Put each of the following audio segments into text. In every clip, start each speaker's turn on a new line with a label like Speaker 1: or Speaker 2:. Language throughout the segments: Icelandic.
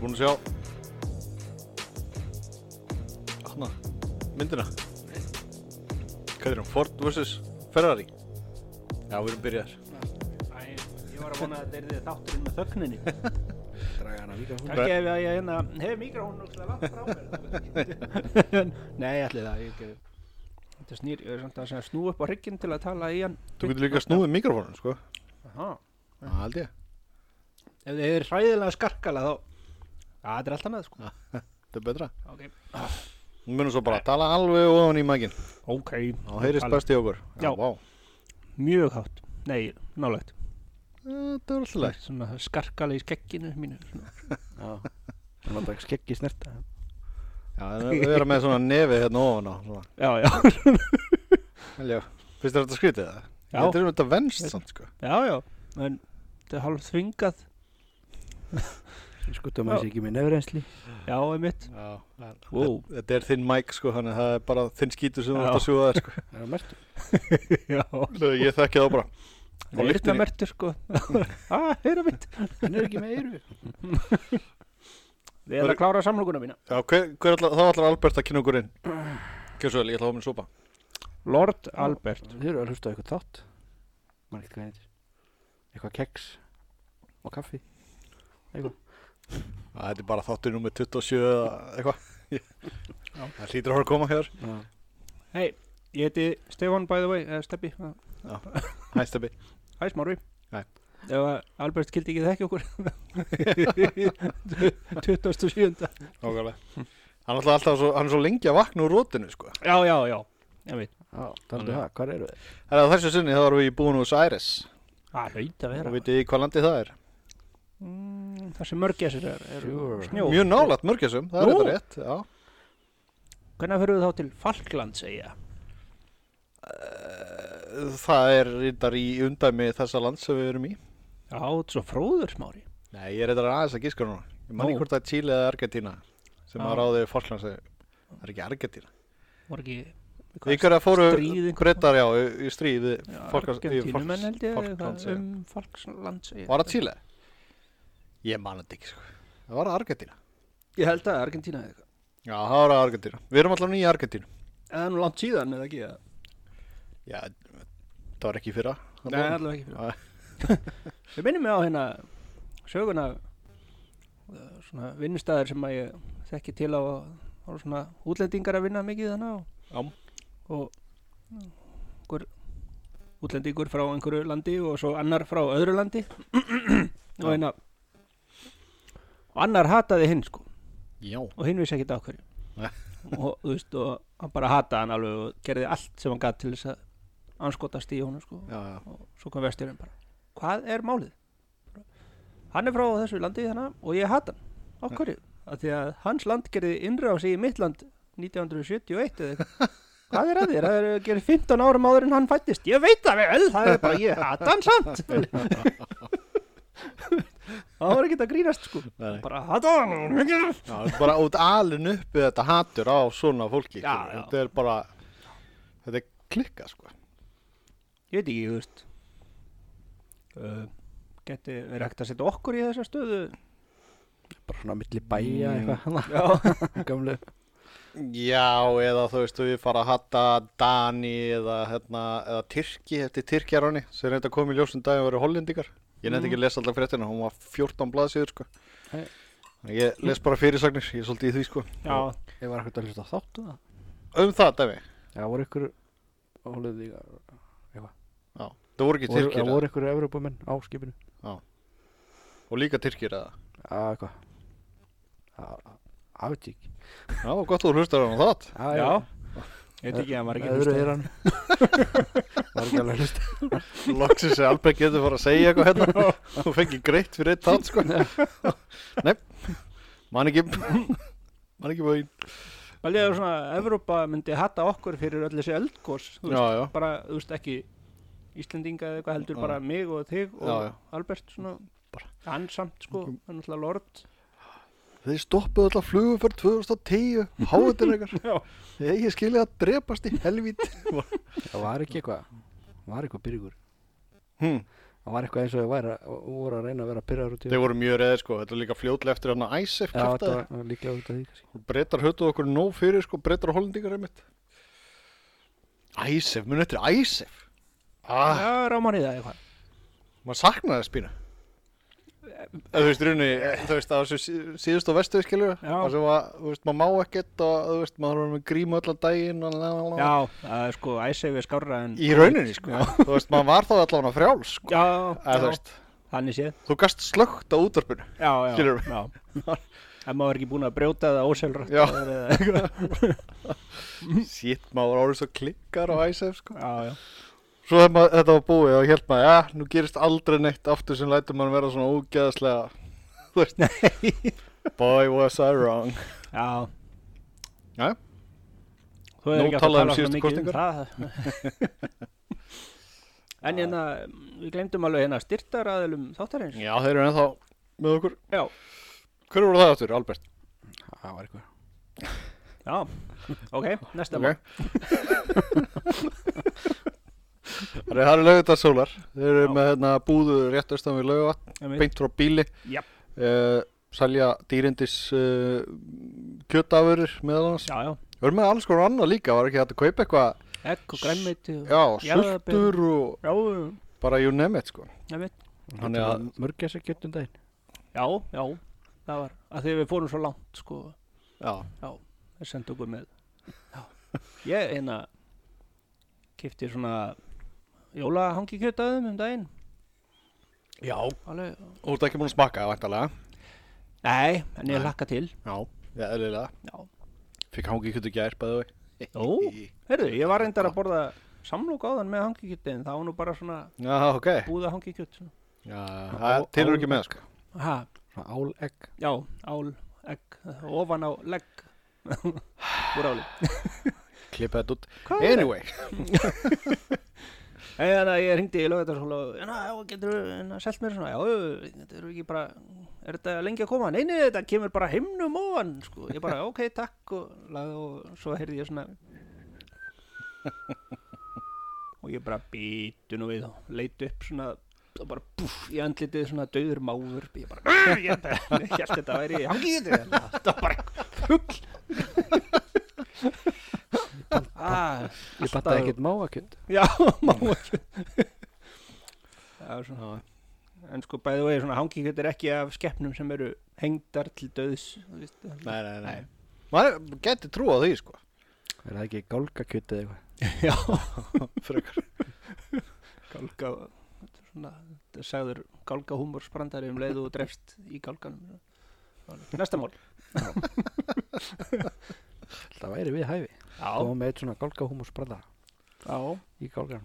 Speaker 1: búin að sjá hana, myndina hvað er hún, Ford vs. Ferrari já, við erum byrjaðar
Speaker 2: Æ, ég var að vona að þetta er þið þátturinn með þögninni
Speaker 3: Draga hana líka hún
Speaker 2: kannski ef ég hérna hefur mikrofónu ógstilega langt frá mér nei, allir það ég ekki þetta snýr, ég er samt að segja snú upp á hrygginn til að tala í hann
Speaker 1: þú getur líka snúið mikrofónum, sko
Speaker 2: Aha.
Speaker 3: Það held ég
Speaker 2: ef þið er hræðilega skarkala þá Já, þetta er alltaf með sko
Speaker 1: þetta er betra
Speaker 2: ok,
Speaker 1: við munum svo bara að tala alveg ofan í mækin
Speaker 2: okay.
Speaker 1: þá heyrist best í okkur
Speaker 2: Já.
Speaker 1: vá.
Speaker 2: mjög hátt, nei, nálægt
Speaker 1: þetta er alltaf leið
Speaker 2: svona skarkala í skekkinu mínu svona.
Speaker 3: Hann var bara skeggi snert
Speaker 1: já, við erum með svona nefið hérna ofan á svona.
Speaker 2: já, já,
Speaker 1: Helja. finnst þér þetta skrítið það?
Speaker 2: Já.
Speaker 1: þetta er um þetta venst samt, sko
Speaker 2: já, já en þetta er hálf þvingað
Speaker 3: Skutum að þessi ekki með nefrensli
Speaker 2: já, einmitt
Speaker 1: Já, það-
Speaker 2: Wow.
Speaker 1: þetta- þetta er þinn mæk sko þannig að það er bara þinn skítur sem þú
Speaker 2: Já.
Speaker 1: ert að sjúga þér sko
Speaker 3: Það er að mertu
Speaker 2: já,
Speaker 1: ég þekki það bara
Speaker 2: það er þetta mertur sko að, heyra mitt
Speaker 3: Hann er ekki með eyru
Speaker 2: Við erum að klára samlokuna mína
Speaker 1: Já, hver, hver ætla, þá ætlar Albert að kynna okkur inn Gjörðu svo vel, ég ætla að fá mér sopa
Speaker 2: Lord Albert
Speaker 3: Þið eru að hlusta á eitthvað þátt Man ekkert hvað hann heitir Eitthvað keks Og kaffi
Speaker 1: Æ, Þetta er bara þáttur númer 27 eða eitthvað Það hlýtur að fara að koma hér
Speaker 3: Já.
Speaker 2: Hei, ég heiti Stefan by the way eða Steppi, eða-
Speaker 1: Hæ Steppi
Speaker 2: hæ Smári
Speaker 1: Hæ.
Speaker 2: Ef að Albert kildi ekki þekki okkur 27.
Speaker 1: Nákvæmlega Hann ætla alltaf svo, hann er svo lengi að vakna úr rótinu sko
Speaker 2: Já, já, já Ég veit,
Speaker 3: Já, taldu það, hvar eru þeir?
Speaker 1: Það er þessu sinni þá erum við í búin úr Særes
Speaker 2: það hlaut að
Speaker 1: Og
Speaker 2: vera
Speaker 1: veitir í hvað landi það er
Speaker 2: mm, Það sem mörgæsir er, er
Speaker 3: Sure.
Speaker 2: snjó
Speaker 1: Mjög nálægt mörgjasum, það er
Speaker 2: Nú.
Speaker 1: þetta rétt Já,
Speaker 2: Hvernig fyrir við þá til Falkland segja?
Speaker 1: það er reyndar í undæmi þessa land sem við erum í
Speaker 2: Já, þetta er svo fróður Smári
Speaker 1: Nei, ég er reyndar aðeins að gíska núna Ég man
Speaker 2: Nú.
Speaker 1: ekki hvort það er Chile eða Argentina sem
Speaker 2: Já.
Speaker 1: að ráði Falklands það er ekki Argentina
Speaker 2: Var ekki hvað-
Speaker 1: Ykkur að fóru
Speaker 2: stríð einhver-
Speaker 1: breytar já, í- í stríð við
Speaker 2: Já,
Speaker 1: Falklands yfir
Speaker 2: Argentínumenn held ég
Speaker 1: Falklands
Speaker 2: eitthvað
Speaker 1: já.
Speaker 2: um Falkland segja
Speaker 1: Var það Chile? Ég man þetta ekki sko Það var Argentina
Speaker 2: Ég held að Argentína eða eitthvað
Speaker 1: Já, það var Argentina Við erum allan í Argentina
Speaker 2: Eða nú langt síðan eða ekki eða
Speaker 1: Já, það var ekki í fyrra
Speaker 2: Nei, allavega ekki
Speaker 1: Nei.
Speaker 2: fyrir. Við minnum mig á hérna söguna uh, svona vinnustæðar sem að ég þekki til á að það voru svona útlendingar að vinna mikið þannig og,
Speaker 1: Já.
Speaker 2: og mm, einhver útlendingur frá einhverju landi og svo annar frá öðru landi og
Speaker 1: Já.
Speaker 2: hérna og annar hataði hinn sko
Speaker 1: Já,
Speaker 2: og hinn vissi ekkert á hverju
Speaker 1: Nei.
Speaker 2: og þú veist og hann bara hataði hann alveg og gerði allt sem hann gat til þess að anskotast í honum sko
Speaker 1: já, já
Speaker 2: og svo kom vesturinn bara hvað er málið? hann er frá þessu landi þannig og ég hata hann af hverju? af því að hans land gerði innrás í mitt land 1971 eða eitthvað hvað er að þér? það er að gera 15 árum áður en hann fættist ég veit það vel, það er bara ég hata hann samt það var ekkert að grínast sko
Speaker 1: Nei.
Speaker 2: bara hata hann
Speaker 1: Já, þetta er bara út alin upp við þetta hatur á svona fólki
Speaker 2: Já,
Speaker 1: skilur.
Speaker 2: já.
Speaker 1: Þetta er bara Þetta er klikka sko
Speaker 2: ég veit ekki, þú veist uh, geti verið hægt að setja okkur í þessa stöðu
Speaker 3: Bara svona milli bæja eitthvað hana
Speaker 2: já
Speaker 3: Gamlu
Speaker 1: Já, eða þú veist, við fara að hatta Dani eða, hérna, eða Tyrki eftir Tyrkjarani sem reynda að koma í ljósum daginn og verið hollendingar Ég
Speaker 3: Mhm.
Speaker 1: nefndi ekki að lesa alltaf fréttina, hún var 14 blaðsíður sko
Speaker 3: Nei.
Speaker 1: Þannig Ég les bara fyrirsagnir, ég er svolítið í því sko
Speaker 2: já,
Speaker 3: Ég var ekkert að hlusta á þáttu það
Speaker 1: Um það, dæmi
Speaker 3: Já, voru ykkur Óliðingar
Speaker 1: Já, það voru ekki
Speaker 3: Voru-
Speaker 1: Tyrkir
Speaker 3: Það voru ykkur Evrópumenn á skipinu
Speaker 1: eða- og líka Tyrkir eða
Speaker 3: Já, eitthvað Já, Aftík
Speaker 1: Já, gott þú hlustar hann á það
Speaker 2: já ég veit ekki, hann var ekki að
Speaker 3: Öðru
Speaker 2: hlusta.
Speaker 3: er hann Var ekki alveg að hlusta
Speaker 1: Loksins er alveg getur fara að segja eitthvað hérna Þú fengi greitt fyrir eitt þátt sko Nei, man ekki Man ekki búinn
Speaker 2: Vel ég að svona, Evrópa myndi hatta okkur fyrir öll þessi eldgós, þú veist,
Speaker 1: Já, já
Speaker 2: bara, þú veist, ekki Íslendinga eða eitthvað heldur
Speaker 1: Já.
Speaker 2: bara mig og þig og
Speaker 1: Já, já.
Speaker 2: Albert, svona,
Speaker 1: Bara-
Speaker 2: hann samt, sko, hann er náttúrulega lord.
Speaker 1: Þeir stoppuðu alltaf flugum fyrir 2010 Háðunreikar
Speaker 2: Já.
Speaker 1: Ég, ég skilja að drepast í helvít
Speaker 3: Það var ekki eitthvað Var eitthvað byrgur
Speaker 1: hmm.
Speaker 3: það var eitthvað eins og þau væri að- voru að reyna að vera pyrraður út í
Speaker 1: Þeir voru mjög reðið sko, þetta var líka fljótlega eftir hann að Æsef
Speaker 3: Já, þetta
Speaker 1: kæftaði.
Speaker 3: var- var líklega út af því kannski.
Speaker 1: Breytar höfðu okkur nóg fyrir sko, breytar og hollendingar einmitt. Æsef, mun eftir Æsef. Ah,
Speaker 2: Já, rámar í það eitthvað
Speaker 1: maður saknaði spína. Þú veist, runni, þú veist, það var svo síðust á vestu, skilur,
Speaker 2: Já.
Speaker 1: það sem var, þú veist, maður má ekkert og, þú veist, maður var með grímu allan daginn og lalala.
Speaker 2: Já, það er sko æsefi skárra en
Speaker 1: Í rauninni, sko. Þú veist, maður var þá allan að frjáls, sko.
Speaker 2: Já,
Speaker 1: Eða, þú
Speaker 2: já,
Speaker 1: veist,
Speaker 2: þannig séð
Speaker 1: þú gast slögt á útvarpinu.
Speaker 2: Já, já,
Speaker 1: Skilurðu?
Speaker 2: já En maður er ekki búin að brjóta það óselrætt
Speaker 1: Já.
Speaker 2: Já,
Speaker 1: Sitt, maður árið svo klikkar á Æsef, sko.
Speaker 2: já,
Speaker 1: Svo þegar maður, þetta var búið og held maður, já, nú gerist aldrei neitt aftur sem lætur maður vera svona ógeðaslega, þú veist, boy was I wrong.
Speaker 2: já
Speaker 1: Já.
Speaker 2: Þú
Speaker 1: Nóg
Speaker 2: er ekki að
Speaker 1: talað um
Speaker 2: tala
Speaker 1: síðustu
Speaker 2: svona mikið um það En hérna, við glemdum alveg hérna styrtaraðilum þáttarins
Speaker 1: Já, þeir eru ennþá með okkur.
Speaker 2: Já.
Speaker 1: Hver voru það aftur, Albert?
Speaker 3: Það var eitthvað
Speaker 2: Já, ok, næsta
Speaker 1: Ok. Það eru- það eru lögut að sólar, þeir eru
Speaker 2: Já.
Speaker 1: með hérna búðu rétt austan við lögut,
Speaker 2: mál
Speaker 1: beint frá bíli,
Speaker 2: Japp.
Speaker 1: uh, salja dýrindis uh, kjötafurur meðal hans.
Speaker 2: Já, já,
Speaker 1: Við erum með alls konar annað líka, var ekki hægt að kaupa eitthvað,
Speaker 2: egg og grænmeiti og-
Speaker 1: já,
Speaker 2: Jarðarber.
Speaker 1: sultur og
Speaker 2: Já, já,
Speaker 1: bara you name it, sko.
Speaker 2: ég veit.
Speaker 1: Þannig
Speaker 3: Þannig að
Speaker 1: að-
Speaker 3: mörgja sér gjöndum um daginn
Speaker 2: já, já, það var að því að við fórum svo langt sko,
Speaker 1: Já.
Speaker 2: þeir sendu okkur með já. ég hérna kipti svona jólahangi kjötaðum um daginn
Speaker 1: Já,
Speaker 2: alveg,
Speaker 1: þú ert ekki búin að smakka það væntalega
Speaker 2: nei, en ég
Speaker 1: Nei.
Speaker 2: lakka til
Speaker 1: Já, já, eðlilega
Speaker 2: já,
Speaker 1: Fikk hangi kjötu gær, bæðu
Speaker 2: Ó.
Speaker 1: við
Speaker 2: heyrðu, ég var reyndar að borða samlók áðan með hangi kjöti en það var nú bara svona
Speaker 1: Já, ok
Speaker 2: búða hangi kjöt
Speaker 1: Já, það er- til eru ekki með, sko
Speaker 2: ha,
Speaker 3: Svona álegg
Speaker 2: já, ál, egg ofan á legg úr áli
Speaker 1: Klippa þetta út
Speaker 2: Hvað er
Speaker 1: Anyway
Speaker 2: Nei, þannig að ég ringdi í lögveitarskóla og hérna, já, getur þú selt mér svona, já, já, þetta eru ekki bara, er þetta lengi að koma? Nei, nei, þetta kemur bara himnum ofan, sko. Ég bara, ok, takk og lagði og svo heyrði ég svona. og ég bara býtu nú við og leiti upp svona, og bara, búff, ég andlitið svona döður máður. Ég bara, "Ugh, ég held að- ég held þetta væri, hann getur þetta. Þetta var bara fugl. ah,
Speaker 3: Ég
Speaker 2: alltaf-
Speaker 3: banta ekkert máakjönd
Speaker 2: Já, má ekki Það er svona En sko bæði vegi svona hangi er ekki af skeppnum sem eru hengdar til döðs þú veist, það-
Speaker 1: Nei, nei, nei Maður geti trú á því, sko
Speaker 3: Er það ekki gálgakjönd eða eitthvað
Speaker 2: Já,
Speaker 1: Frekar
Speaker 2: gálga þetta er svona, þetta er sagður gálga húmorsbrandari um leiðu og drefst í gálganum Næsta mál
Speaker 3: Það væri við hæfi
Speaker 2: Já,
Speaker 3: Koma með eitt svona gálgahúmusbralla
Speaker 2: já
Speaker 3: í gálgan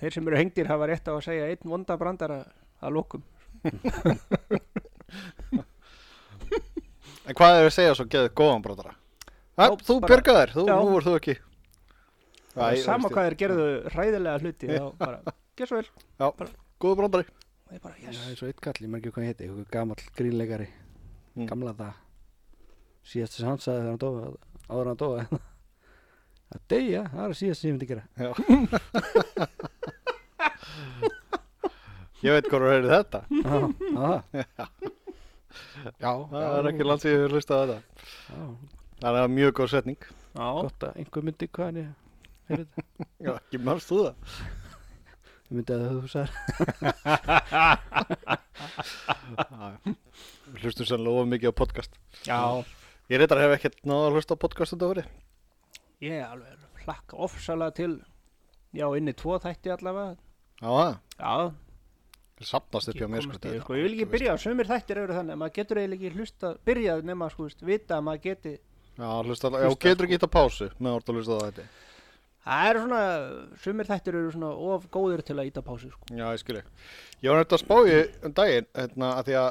Speaker 2: Þeir sem eru hengdir hafa rétt á að segja einn vonda brandara að lokum
Speaker 1: En hvað er að segja svo geðið góðan brotara?
Speaker 2: Já,
Speaker 1: Já, þú
Speaker 2: bara-
Speaker 1: björgaðir, þú,
Speaker 2: Já.
Speaker 1: nú voru þú ekki
Speaker 2: Það
Speaker 1: ég-
Speaker 2: er sama
Speaker 1: veist ég-
Speaker 2: hvað þeir gerðu hræðilega hluti þá bara, gerð svo vel
Speaker 1: Góðu brotari
Speaker 2: og ég bara,
Speaker 3: Það
Speaker 2: yes,
Speaker 3: er svo eitt kall, ég maður ekki hvað hann heiti Eitthvað gamall grínleikari
Speaker 1: Mm.
Speaker 3: Gamla það Síðast sem hann sagði þegar hann dói Áður en hann dói Að deyja, það er síðast sem ég myndi gera
Speaker 1: Já. Ég veit hvað þú heyrið þetta
Speaker 3: Já, já, já
Speaker 1: Það er ekki langt sem ég hefur hlustað á þetta
Speaker 3: já,
Speaker 1: Það er mjög góð setning
Speaker 2: já,
Speaker 3: Gott að einhver myndi hvað hann ég heyrði þetta.
Speaker 1: Já, ekki mannst þú það
Speaker 3: Ég myndi að þú sagði
Speaker 1: Já, já. Við hlustum sannlega of mikið á podcast
Speaker 2: já
Speaker 1: Ég reyndar hef ekkert náða að hlusta á podcast þetta voru
Speaker 2: Ég er alveg hlakka ofsalega til Já, inni tvo þætti allavega
Speaker 1: Já, það
Speaker 2: Já,
Speaker 1: Þeir sapnast upp hjá mér sko,
Speaker 2: komast í
Speaker 1: þetta-
Speaker 2: sko Ég vil ekki byrja, sumir þættir eru þannig að maður getur eiginlega ekki hlusta, byrjað nema sko, veist, vita að maður geti
Speaker 1: Já, hlusta alveg, já,
Speaker 2: Hlusta, sko.
Speaker 1: getur ekki þetta pásu með orð að hlusta á þetta
Speaker 2: Það eru svona, sumir þættir eru svona of góðir til að íta pásu sko
Speaker 1: Já, ég skilji Ég var nefnt að spá í um daginn hérna, að því að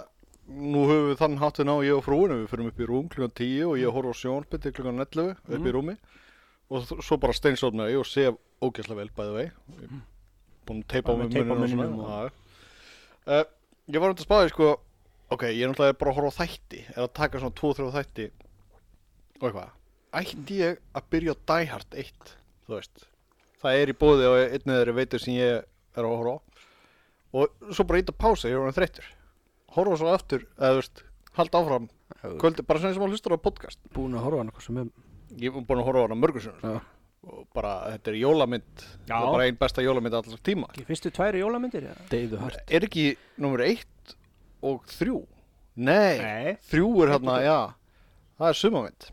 Speaker 1: nú höfum við þann háttinn á ég og frúinu við fyrum upp í rúm klukkan 10 og ég horf á sjónarpið til klukkan 11 upp
Speaker 2: Mhm.
Speaker 1: í rúmi og þ- svo bara steinsofna ég og sef ógeðslega vel bæði vei
Speaker 2: Mhm.
Speaker 1: búin að teipa á
Speaker 2: Bara
Speaker 1: mig
Speaker 2: með
Speaker 1: munum
Speaker 2: teipa á
Speaker 1: og
Speaker 2: munninum
Speaker 1: svona
Speaker 2: og-
Speaker 1: og... uh, Ég var nefnt að spá í sko ok, ég er náttúrulega bara að horfa á þætti er að taka svona 2-3 þætti og eitthvað Ætti ég að byrja á Die Hard 1 þú veist það er í bóði á einnig þeirri veitur sem ég er að horfa á og svo bara ít að pása, ég var hann þreyttur horfa svo aftur, eða þú veist halda áfram, kvöldi, bara svona eins og maður hlustar á podcast
Speaker 3: Búin að horfa á nokkuð sem um
Speaker 1: ég var búin að horfa á hana mörgur sinni
Speaker 3: Já.
Speaker 1: og bara, þetta er jólamynd
Speaker 2: Já.
Speaker 1: þetta er bara ein besta jólamynd allra tíma
Speaker 2: Ekki fyrstu tværi jólamyndir? eða?
Speaker 3: Deyðu hart
Speaker 1: er ekki nummer eitt og þrjú nei,
Speaker 2: Nei.
Speaker 1: þrjú er hérna, já það er sumamynd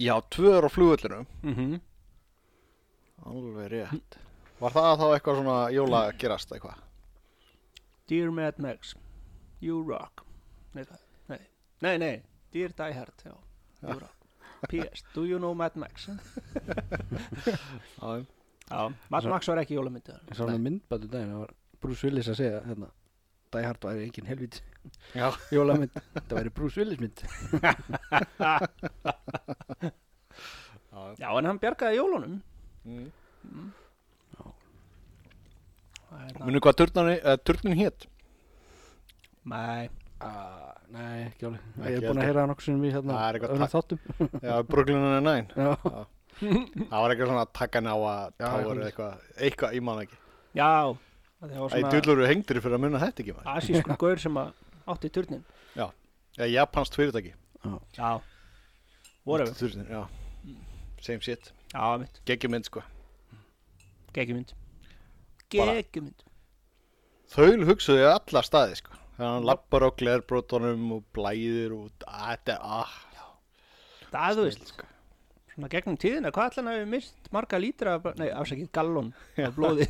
Speaker 1: já, tvö er á flugvöllinu
Speaker 2: Mhm.
Speaker 1: alveg rétt var það þá eitthvað svona jóla gerast eitthvað
Speaker 2: Dear Mad Max You Rock Nei, hvað? nei, nei, nei. Dear Die Hard já. You Rock P.S. Do you know Mad Max?
Speaker 1: Já,
Speaker 2: Já, Mad
Speaker 3: Svo-
Speaker 2: Max var ekki jólamyndu
Speaker 3: Ég sá hann myndbættu um daginn Það var Bruce Willis að segja hérna Die Hard væri engin helvít
Speaker 1: já.
Speaker 3: Jólamynd Það væri Bruce Willis mynd
Speaker 2: Já, en hann bjargaði jólunum
Speaker 1: Mm.
Speaker 2: Það er það.
Speaker 1: Munið hvað turnan, uh, turnin hétt?
Speaker 2: Nei,
Speaker 3: ah, Nei, ekki alveg
Speaker 1: Ekki
Speaker 3: Ég er búin
Speaker 1: heldur.
Speaker 3: að heyra hann okkur sem við hérna
Speaker 1: Það er eitthvað
Speaker 3: öðrum þáttum
Speaker 1: Já, Brooklyn Nine-Nine.
Speaker 3: Já,
Speaker 1: Það var eitthvað svona Takanawa
Speaker 3: Já,
Speaker 1: Tower
Speaker 3: eitthvað.
Speaker 1: eða eitthvað, eitthvað, ég man það ekki.
Speaker 2: já Það var
Speaker 1: Æ,
Speaker 2: svona
Speaker 1: dullur eru hengtir fyrir að muna þetta ekki maður.
Speaker 2: asískur gaur sem að átti turnin
Speaker 1: Já, japanst fyrirtæki.
Speaker 2: Já, voru við
Speaker 1: Turnin, já. Same shit.
Speaker 2: Já, mitt,
Speaker 1: Geggjumynd, sko.
Speaker 2: geggjumynd
Speaker 1: Bara-
Speaker 2: Geggjumynd
Speaker 1: Þaul hugsuðu í alla staði, sko. Þegar hann lappar á glerbrotunum og blæðir og að, þetta ah, er að.
Speaker 2: Það þú veist Svona gegnum tíðina, hvað ætlan hafi mist marga lítra, af- nei, afsakið gallon af blóði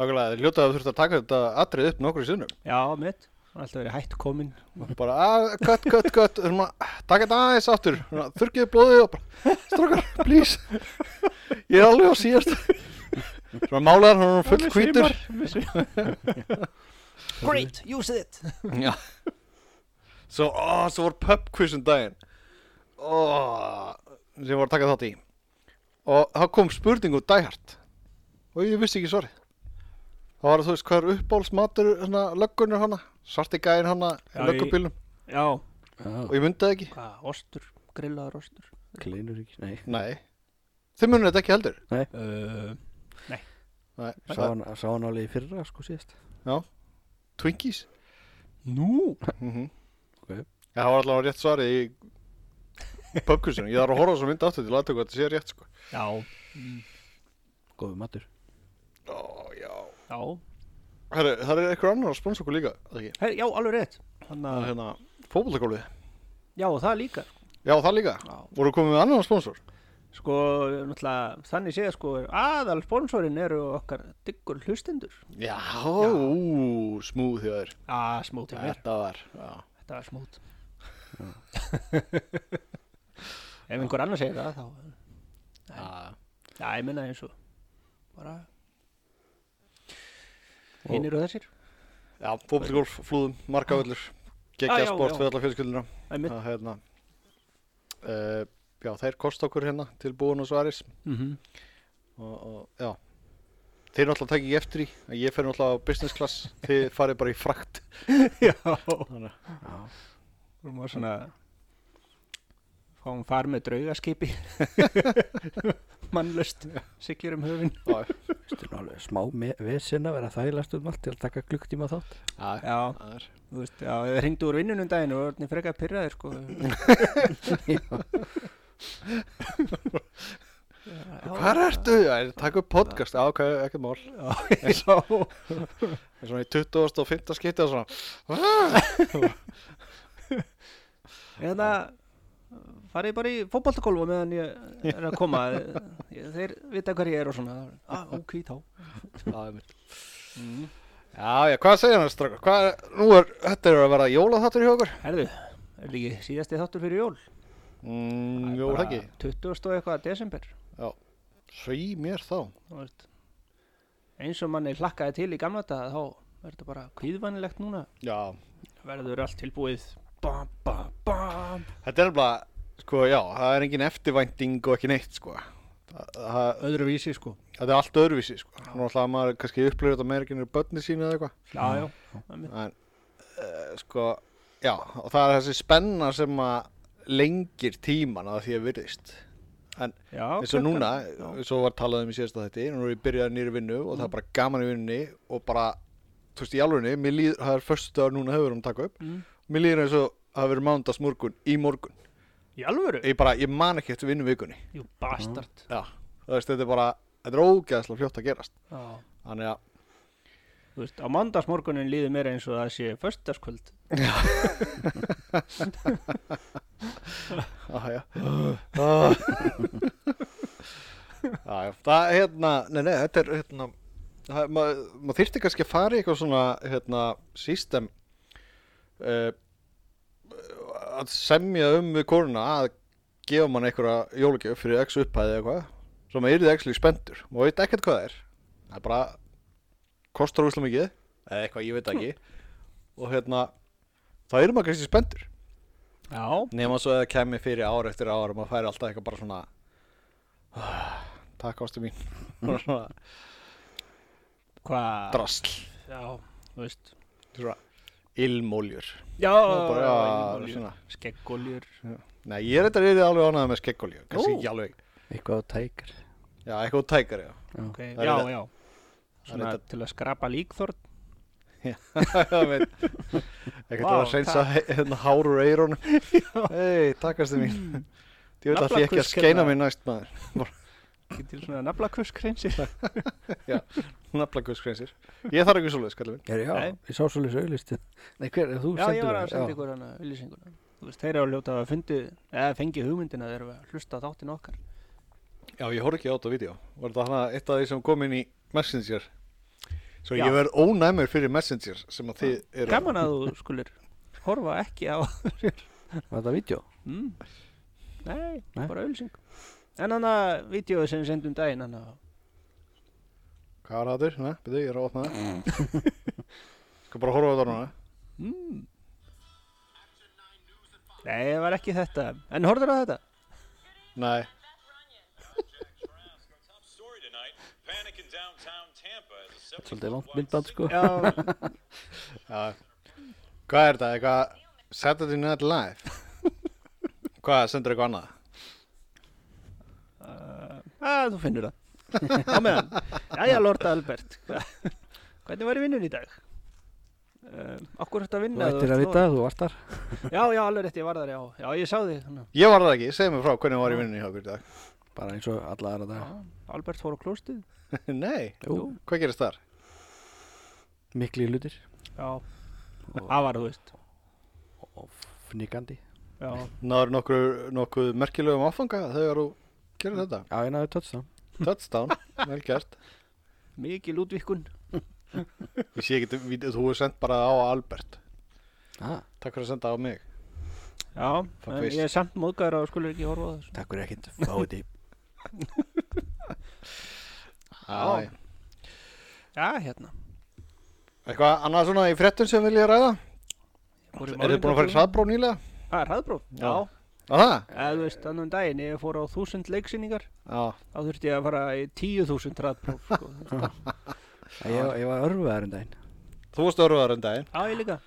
Speaker 1: Nákvæmlega, þeir hljótaðu þurft að taka þetta atrið upp nokkru sinnum.
Speaker 2: Já, mitt, hann er alltaf verið hætt komin
Speaker 1: Bara, að, cut, cut, cut, þurfum að taka þetta aðeins aftur. Þurkiðu blóðið og bara, strókar, please. Ég er alveg á síðast. Svona málaðar, hann var full hvítur.
Speaker 2: Great, use it
Speaker 1: Já Svo, ó, svo var pub quiz um daginn Ó, sem ég var að taka þátt í Og þá kom spurning úr dæhart Og ég vissi ekki svarið Það var að þú veist hvað er uppbólsmatur hana, löggunur hana, svarti gæðin hana
Speaker 2: Já,
Speaker 1: í löggubílum
Speaker 2: Já,
Speaker 1: og ég myndi það ekki
Speaker 2: hvað, ostur, grillaður ostur
Speaker 3: Kleinur ekki Nei
Speaker 1: Nei, þið munir þetta ekki heldur
Speaker 2: uh,
Speaker 1: Nei,
Speaker 3: Sá hann, sá hann alveg í fyrra sko síðast
Speaker 1: Twinkies
Speaker 2: Nú
Speaker 1: mm -hmm.
Speaker 3: Ok.
Speaker 1: Já, það var allavega rétt svarið í pub quizinu, ég þarf að horfa á þessu mynd aftur til að aðtöku að þetta sé rétt sko
Speaker 2: Já,
Speaker 3: Góðu matur
Speaker 1: Ó, já
Speaker 2: já,
Speaker 1: Herru, það er eitthvað annar að sponsa okkur líka eða ekki?
Speaker 2: Her, já, alveg rétt Þannig
Speaker 1: Það
Speaker 2: að,
Speaker 1: er hérna fótboltakólfið
Speaker 2: já, það líka
Speaker 1: Já, það líka
Speaker 2: Já.
Speaker 1: Voru komið með annan sponsor
Speaker 2: Sko, náttúrulega, þannig séð sko aðal sponsorinn eru okkar diggur hlustendur
Speaker 1: Já, Ú, smúð hjá þér
Speaker 2: Ah, smót hjá mér,
Speaker 1: Þetta var já.
Speaker 2: þetta var smót Ef einhver annar segir það, þá Já, ég minna eins og bara Hinnir og þessir
Speaker 1: Já, fótboltakólf, flúðum, markavöllur
Speaker 2: Já, já,
Speaker 1: Gekja sport
Speaker 2: já.
Speaker 1: fyrir alla fjölskylduna
Speaker 2: Æmið
Speaker 1: Það hérna uh, Já, þeir kost okkur hérna til búin og svaris
Speaker 2: mm -hmm.
Speaker 1: og, og, Já Þeir náttúrulega takk ekki eftir í að Ég fer náttúrulega á business class Þið farið bara í frakt
Speaker 2: Já,
Speaker 1: Þannig að-
Speaker 2: þú maður svona fáum far með draugaskipi mannlöst siglir um höfin
Speaker 1: Já,
Speaker 3: Þetta er nú alveg smá me- vesen að vera þælast um allt til að taka klukktíma þátt
Speaker 1: já,
Speaker 2: Já,
Speaker 1: það er-
Speaker 2: þú veist, já, þau hringdu úr vinnunum daginn og orðin frekar pyrraðir sko
Speaker 1: Hvar ertu? Já, Takk upp podcast, já, ok, ekkert mál
Speaker 2: ég sá
Speaker 1: Það er svona í 25. skipti og svona
Speaker 2: Eða farið Hérna, bara í fótboltakólfa meðan ég er að koma Ég- Þeir vita hver ég er og svona ah, Ok, þá
Speaker 1: Það er mitt Ah. Mm. Já, já, hvað segir hann strákar? Hvað er, nú er, þetta er að vera jólaþáttur hjá okkur
Speaker 2: Herðu, er líki síðasti þáttur fyrir jól
Speaker 1: mm, Jó,
Speaker 2: Bara
Speaker 1: það ekki
Speaker 2: 20. og eitthvað desember
Speaker 1: Sví mér þá
Speaker 2: þú veist. Eins og manni hlakkaði til í gamla dag þá verður þetta bara kvíðvænilegt núna
Speaker 1: Já
Speaker 2: Verður allt tilbúið Bam, bam, bam
Speaker 1: Þetta er bara, sko, já, það er engin eftirvænting og ekki neitt, sko Það, það,
Speaker 2: Öðruvísi sko
Speaker 1: það er allt öðruvísi, sko Nú ætlaði maður kannski upplöfur þetta meira ekki nýr börni sínu eða eitthvað
Speaker 2: Já, já,
Speaker 1: En, uh, sko, já, og það er þessi spenna sem að lengir tíman að því að virðist
Speaker 2: já
Speaker 1: eins og
Speaker 2: klukkan-
Speaker 1: núna,
Speaker 2: já.
Speaker 1: eins og var talað um í síðasta þetta, nú er ég byrjað nýri vinnu og það er bara gaman í vinnunni og bara þú veist, í alvegni, mér líður, það er förstu dagar núna hefur um að taka upp,
Speaker 2: Mm.
Speaker 1: mér líður eins og það hafi verið mándags morgun í morgun.
Speaker 2: Í alvöru?
Speaker 1: Ég bara, ég man ekki eftir vinnu vikunni.
Speaker 2: Jú, bastard.
Speaker 1: Já. Þú veist, þetta er bara, þetta er ógeðslega fljótt að gerast.
Speaker 2: Já.
Speaker 1: Þannig að,
Speaker 2: Þú veist, á mandagsmorgunin líður mér eins og það sé föstaskvöld.
Speaker 1: aðja. Aðja, Ah. það, hérna, nei, nei, þetta er, hérna, það- maður mað þyrfti kannski að fara í eitthvað svona, hérna, system, uh, að semja um við konuna að gefa mann einhverja jólugjöf fyrir x upphæði eða eitthvað, svo maður yrði ekki spendur, maður veit ekkert hvað það er, það er bara, kostar úslega mikið, eða eitthvað, ég veit það ekki, og hérna, það er maður kannski spendur.
Speaker 2: Já.
Speaker 1: Nefna svo að það kemur fyrir ár eftir ár og maður færi alltaf eitthvað bara svona "Ah, Takk ástu mín Bara svona
Speaker 2: Hvað?
Speaker 1: drasl
Speaker 2: Já, þú veist.
Speaker 1: Svona ilmóljur
Speaker 2: Já,
Speaker 1: bara, já,
Speaker 2: ilmolíur,
Speaker 1: svona.
Speaker 2: skeggóljur.
Speaker 1: Nei, ég er þetta reyðið alveg ánægð með skeggolíu Kanski
Speaker 2: Nú.
Speaker 1: ekki alveg
Speaker 3: Eitthvað á tækar
Speaker 1: Já, eitthvað úr tækar, já
Speaker 2: Ok,
Speaker 1: Það er
Speaker 2: já,
Speaker 1: þetta-
Speaker 2: já.
Speaker 1: er
Speaker 2: Svona
Speaker 1: þetta-
Speaker 2: til að skrapa líkþorn.
Speaker 1: Ég veit. Ekkert
Speaker 2: Vá,
Speaker 1: að reynsa hérna hár úr eirónum Hei, takk ástu
Speaker 2: Hmm.
Speaker 1: mín Ég veit að því ekki að
Speaker 2: Naflakusk
Speaker 1: skeina
Speaker 2: hérna.
Speaker 1: mér næst maður
Speaker 2: Ekki til svona naflakvöskreinsir.
Speaker 1: Naflakuskreinsir Ég þarf ekki svoleiðis, kallum minn
Speaker 3: Já, já,
Speaker 2: Nei.
Speaker 3: ég sá svolítið auðlistu Nei, hver, þú
Speaker 2: Já, ég
Speaker 3: sendir
Speaker 2: var að
Speaker 3: það,
Speaker 2: senda ykkur hana auðlýsinguna. Þú veist, þeir eru að ljóta að fundi, eða fengi hugmyndina þeir eru að hlusta á þáttin okkar.
Speaker 1: Já, ég horf ekki á þetta vídeo. Var þetta hana eitt af því sem kom inn í Messenger? Svo
Speaker 2: Já.
Speaker 1: ég verð ónæmur fyrir Messenger sem að þið eru...
Speaker 2: Gaman að þú skulir horfa ekki á,
Speaker 3: Var þetta vídeo?
Speaker 2: mm. nei,
Speaker 3: Nei.
Speaker 2: bara auðlýsing. En hann að vídeo sem við sendum daginn, hann að,
Speaker 1: Hvað var það þurr? Nei, byrju, ég er að opna það. Skal bara horfa á þetta núna.
Speaker 2: mm. nei, það var ekki þetta. En horfður á þetta?
Speaker 1: Nei,
Speaker 4: Top story tonight: panic in downtown Tampa as a seventy-foot
Speaker 3: Svolítið langt
Speaker 4: wide
Speaker 3: myndband sko
Speaker 2: Já,
Speaker 1: já. Hvað er þetta? Eitthvað Saturday Night Live? Hvað, sendur eitthvað annað?
Speaker 2: Uh, að, þú finnur það. á meðan. Jæja, Lord Albert, hva- hvernig var í vinnun í dag? Um, okkur þetta að
Speaker 3: Þú
Speaker 2: vinna ef
Speaker 3: ættir
Speaker 2: ert
Speaker 3: að
Speaker 2: lofað?
Speaker 3: vita, þú vart þar
Speaker 2: Já, já, alveg rétt, ég var þar, já, já, ég sá þig hana.
Speaker 1: Ég var það ekki, segðu mér frá hvernig var í vinninni hjá okkur í dag.
Speaker 3: Bara eins og alla aðra dag
Speaker 2: Albert fór á klóstið
Speaker 1: Nei,
Speaker 3: Jú,
Speaker 1: hvað gerist þar?
Speaker 3: mikli hlutir
Speaker 2: Já, það var, þú veist
Speaker 3: og fnigandi
Speaker 2: Já,
Speaker 1: Náður nokkru, nokkuð merkilegum áfanga þegar þú gerir þetta.
Speaker 3: Já, ég náði tötst það
Speaker 1: Touchdown, vel gert.
Speaker 2: mikil útvikkun
Speaker 1: Ég sé ekki, vídeó- þú er sendt bara á Albert.
Speaker 3: ah,
Speaker 1: Takk fyrir að senda á mig.
Speaker 2: Já,
Speaker 1: Fuck
Speaker 2: en
Speaker 1: face.
Speaker 2: ég er samt móðgæður að skulur ekki horfa á þessu
Speaker 3: Takk fyrir ekkert, fáið því
Speaker 1: Já.
Speaker 2: Já, hérna
Speaker 1: Eitthvað annað svona í frettum sem vilja ræða?
Speaker 2: Er
Speaker 1: Er þið búin að fara í hraðbró nýlega?
Speaker 2: Það er hraðbróf, Ah,
Speaker 1: Já.
Speaker 2: já,
Speaker 1: Á það?
Speaker 2: eða þú veist, annan daginn ég fór á þúsund leiksýningar
Speaker 1: Já.
Speaker 2: þá þurfti ég að fara í tíu þúsund hraðbróf sko.
Speaker 3: Ég, ég var örfaðar um daginn,
Speaker 1: Þú varst örfaður en daginn.
Speaker 2: Já, ég líka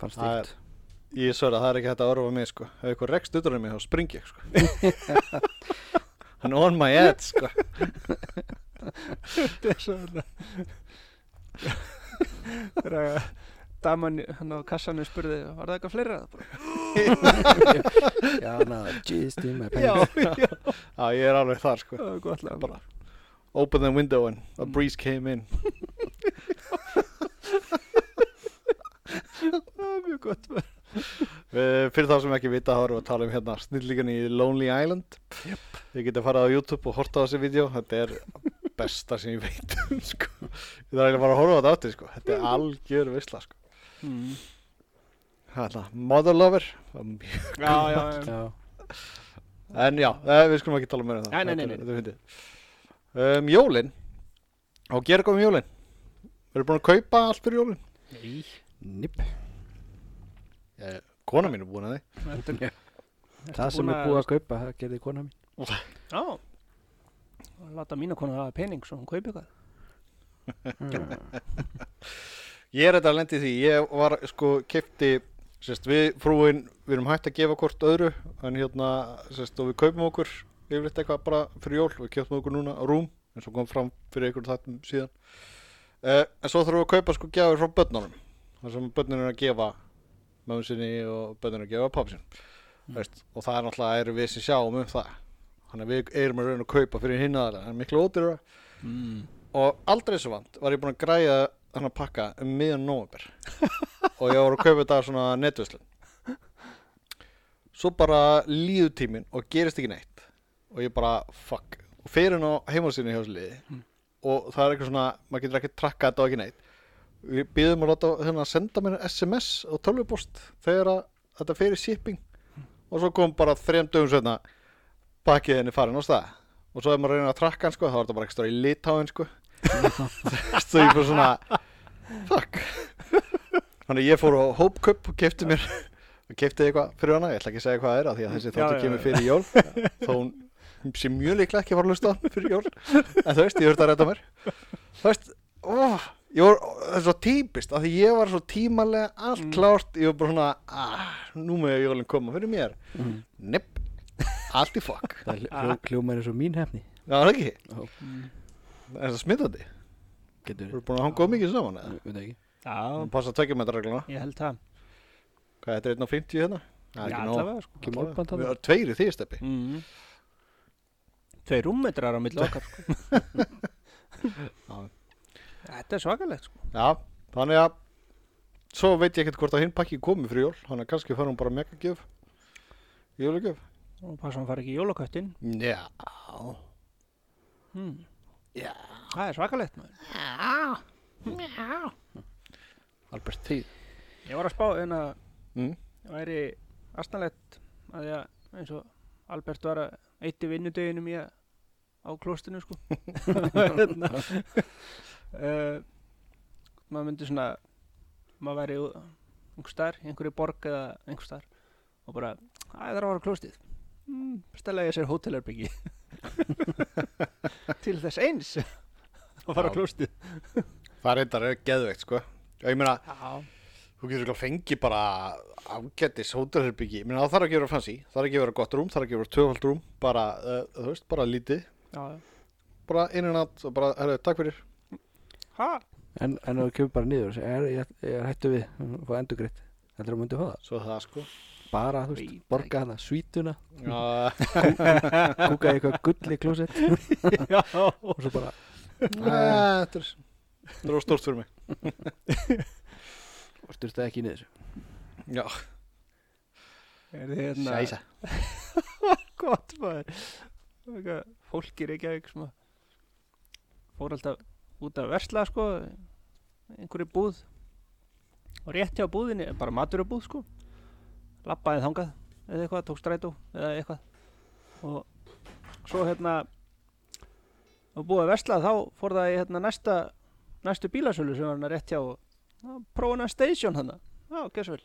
Speaker 3: fannst
Speaker 1: Það er-
Speaker 3: stíkt
Speaker 1: Ég sver að það er ekki hægt að örfa mig sko. Ef eitthvað rekst utan um mig þá spring ég sko. Hann on my head sko.
Speaker 2: Þetta er svona Þegar að daman hann á kassanum spurði var það eitthvað fleira? Bara,
Speaker 3: Já, ná, gist í mig
Speaker 2: Já, já,
Speaker 1: Já ég er alveg þar sko.
Speaker 2: það var gott lag
Speaker 1: Bara. Open the window and a breeze came in.
Speaker 2: Það var "Ah, mjög gott
Speaker 1: Uh, fyrir þá sem ekki vita þá erum við að tala um hérna snillíkan í Lonely Island. Yep. Þið getið að fara á YouTube og horta á þessi vídeo. Þetta er besta sem ég veit um sko. Ég þarf eiginlega bara að horfa á þetta aftur sko. Þetta er algjör visla sko.
Speaker 2: mm.
Speaker 1: Hérna, Mother Lover um,
Speaker 2: Já, já, já
Speaker 3: Já,
Speaker 1: En já, eh, við skulum ekki tala meira um það
Speaker 2: Nei, nei, nei,
Speaker 1: Þetta
Speaker 2: nei.
Speaker 1: er- þetta er fyndið. um, Jólin Og gera eitthvað um jólin Við erum búin að kaupa allt fyrir jólin
Speaker 2: Nei,
Speaker 3: nipp
Speaker 2: Eh.
Speaker 1: ég, Kona mín er búin að því
Speaker 2: þetta er
Speaker 3: Það sem er búið að kaupa, það gerði kona mín
Speaker 2: Já, og láta mína konu hafa pening svo hún kaupi eitthvað
Speaker 1: Ég er þetta að lendi því Ég var sko kefti sérst, Við frúin, við erum hægt að gefa hvort öðru En hérna, sérst, og við kaupum okkur Yfirleitt eitthvað bara fyrir jól Við keftum okkur núna rúm En svo kom fram fyrir ykkur þáttum síðan uh, en svo þurfum við að kaupa sko gjafir frá börnunum þar sem börnunum er að gefa mömmu sinni og börnunum að gefa pappi sinni veist, og það er náttúrulega er við sem sjáum um það þannig að við erum að raun að kaupa fyrir hinn aðra það er miklu ódýra
Speaker 2: mm.
Speaker 1: og aldrei svo vant var ég búin að græja þannig að pakka um miðan nómabir og ég var að kaupa þetta af svona netvislun svo bara líður tíminn og gerist ekki neitt og ég bara fuck og fer inn á heimasýni hjá þessu liði og það er eitthvað svona, maður getur ekki trakka þetta og ekki neitt við býðum að láta hérna að senda mér sms og tölvupost þegar að þetta fer í shipping og svo kom bara þrem dögum setna pakkið henni farin á stað og svo ef maður reynir að trakka hann sko þá er þetta bara ekki stóra í litáin sko svo ég fór svona fuck þannig ég fór á hópköp og kefti mér og kefti eitthvað fyrir hana, ég ætla ekki að segja hvað það er af því að þessi
Speaker 2: Já,
Speaker 1: þáttu
Speaker 2: já,
Speaker 1: kemur
Speaker 2: já.
Speaker 1: fyrir jól þó hún sé mjög líklega ekki að fara að hlusta á hann fyrir jól en þú veist, ég höfði að redda mér þú veist, ó, ég var það er svo típist, af því ég var svo tímalega allt
Speaker 2: Mm.
Speaker 1: klárt, ég var bara svona ah, nú með jólinn koma fyrir mér mm. nepp, allt í fuck
Speaker 3: Það hljó- hljó- hljómar eins og mín hefni
Speaker 1: Já, það er ekki
Speaker 3: Ó.
Speaker 1: Mm. Er það smittandi? Þú
Speaker 3: Getur
Speaker 1: eru búin að hanga of mikið saman eða?
Speaker 3: Við veit ekki
Speaker 2: Já,
Speaker 1: Það passa tveggjum metra regluna
Speaker 2: ég held það
Speaker 1: Hvað, þetta er einn á 50 hérna? Það er
Speaker 2: Já,
Speaker 1: ekki nóg
Speaker 2: allavega sko
Speaker 3: Ekki
Speaker 1: Við
Speaker 3: málband hann
Speaker 1: erum tveir í því steppi
Speaker 2: mm. Tveir rúmmetrar á milli okkar sko. Þetta er svakalegt sko.
Speaker 1: Já, þannig að Svo veit ég ekkert hvort að hinn pakki komið fyrir jól Þannig að kannski fara hún bara megagjöf Jólugjöf
Speaker 2: og passa hann fara ekki í jólaköttin
Speaker 1: Já
Speaker 2: mm.
Speaker 1: Já.
Speaker 2: Það er svakalegt maður
Speaker 1: Albert Tíð
Speaker 2: Ég var að spá hérna en að
Speaker 1: Mm.
Speaker 2: það væri astanlegt að því að eins og Albert var að eitti vinnudöginum ég á klostinu sko hérna uh, maður myndi svona maður væri einhver staðar, í einhverju borg eða einhver staðar og bara, "Æ, það er að vara á klostið mm, stella ég sér hótelherbyggi til þess eins að fara á
Speaker 1: Já.
Speaker 2: klostið
Speaker 1: Það er eitthvað geðveikt sko Já, ég meina,
Speaker 2: Já,
Speaker 1: þú getur ekki að fengi bara ágættis hótelherbyggi Ég meina, það þarf ekki að vera fancy Það þarf ekki að vera gott rúm, það þarf ekki að vera töfald rúm Bara, uh, þú veist, bara lítið
Speaker 2: já, já.
Speaker 1: bara inn og nátt og bara, herru, takk fyrir
Speaker 2: ha,
Speaker 3: En en þú kemur bara niður og segir, "Er- Ég ég er hættu við Fá endur greitt Heldur að myndi fá það
Speaker 1: svo það sko
Speaker 3: Bara, þú veist,
Speaker 2: Veit
Speaker 3: borga hana Svítuna
Speaker 1: já, Eh,
Speaker 3: Kúka í eitthvað gull í klósett Og
Speaker 2: já
Speaker 3: svo bara
Speaker 1: þetta er þetta er stórt fyrir mig
Speaker 3: Og styrsta ekki niður
Speaker 1: já,
Speaker 2: Er þið hérna
Speaker 1: sæsa
Speaker 2: Gott maður Eitthvað Fólk í Reykjavík sem að fór alltaf út að versla sko einhverju búð og rétt hjá búðinni, bara matur á búð sko lappaði þangað eða eitthvað, tók strætó eða eitthvað og svo hérna og búið að versla þá fór það í hérna næsta næstu bílasölu sem var hérna rétt hjá og prófa hann station hann já, ok, svo vel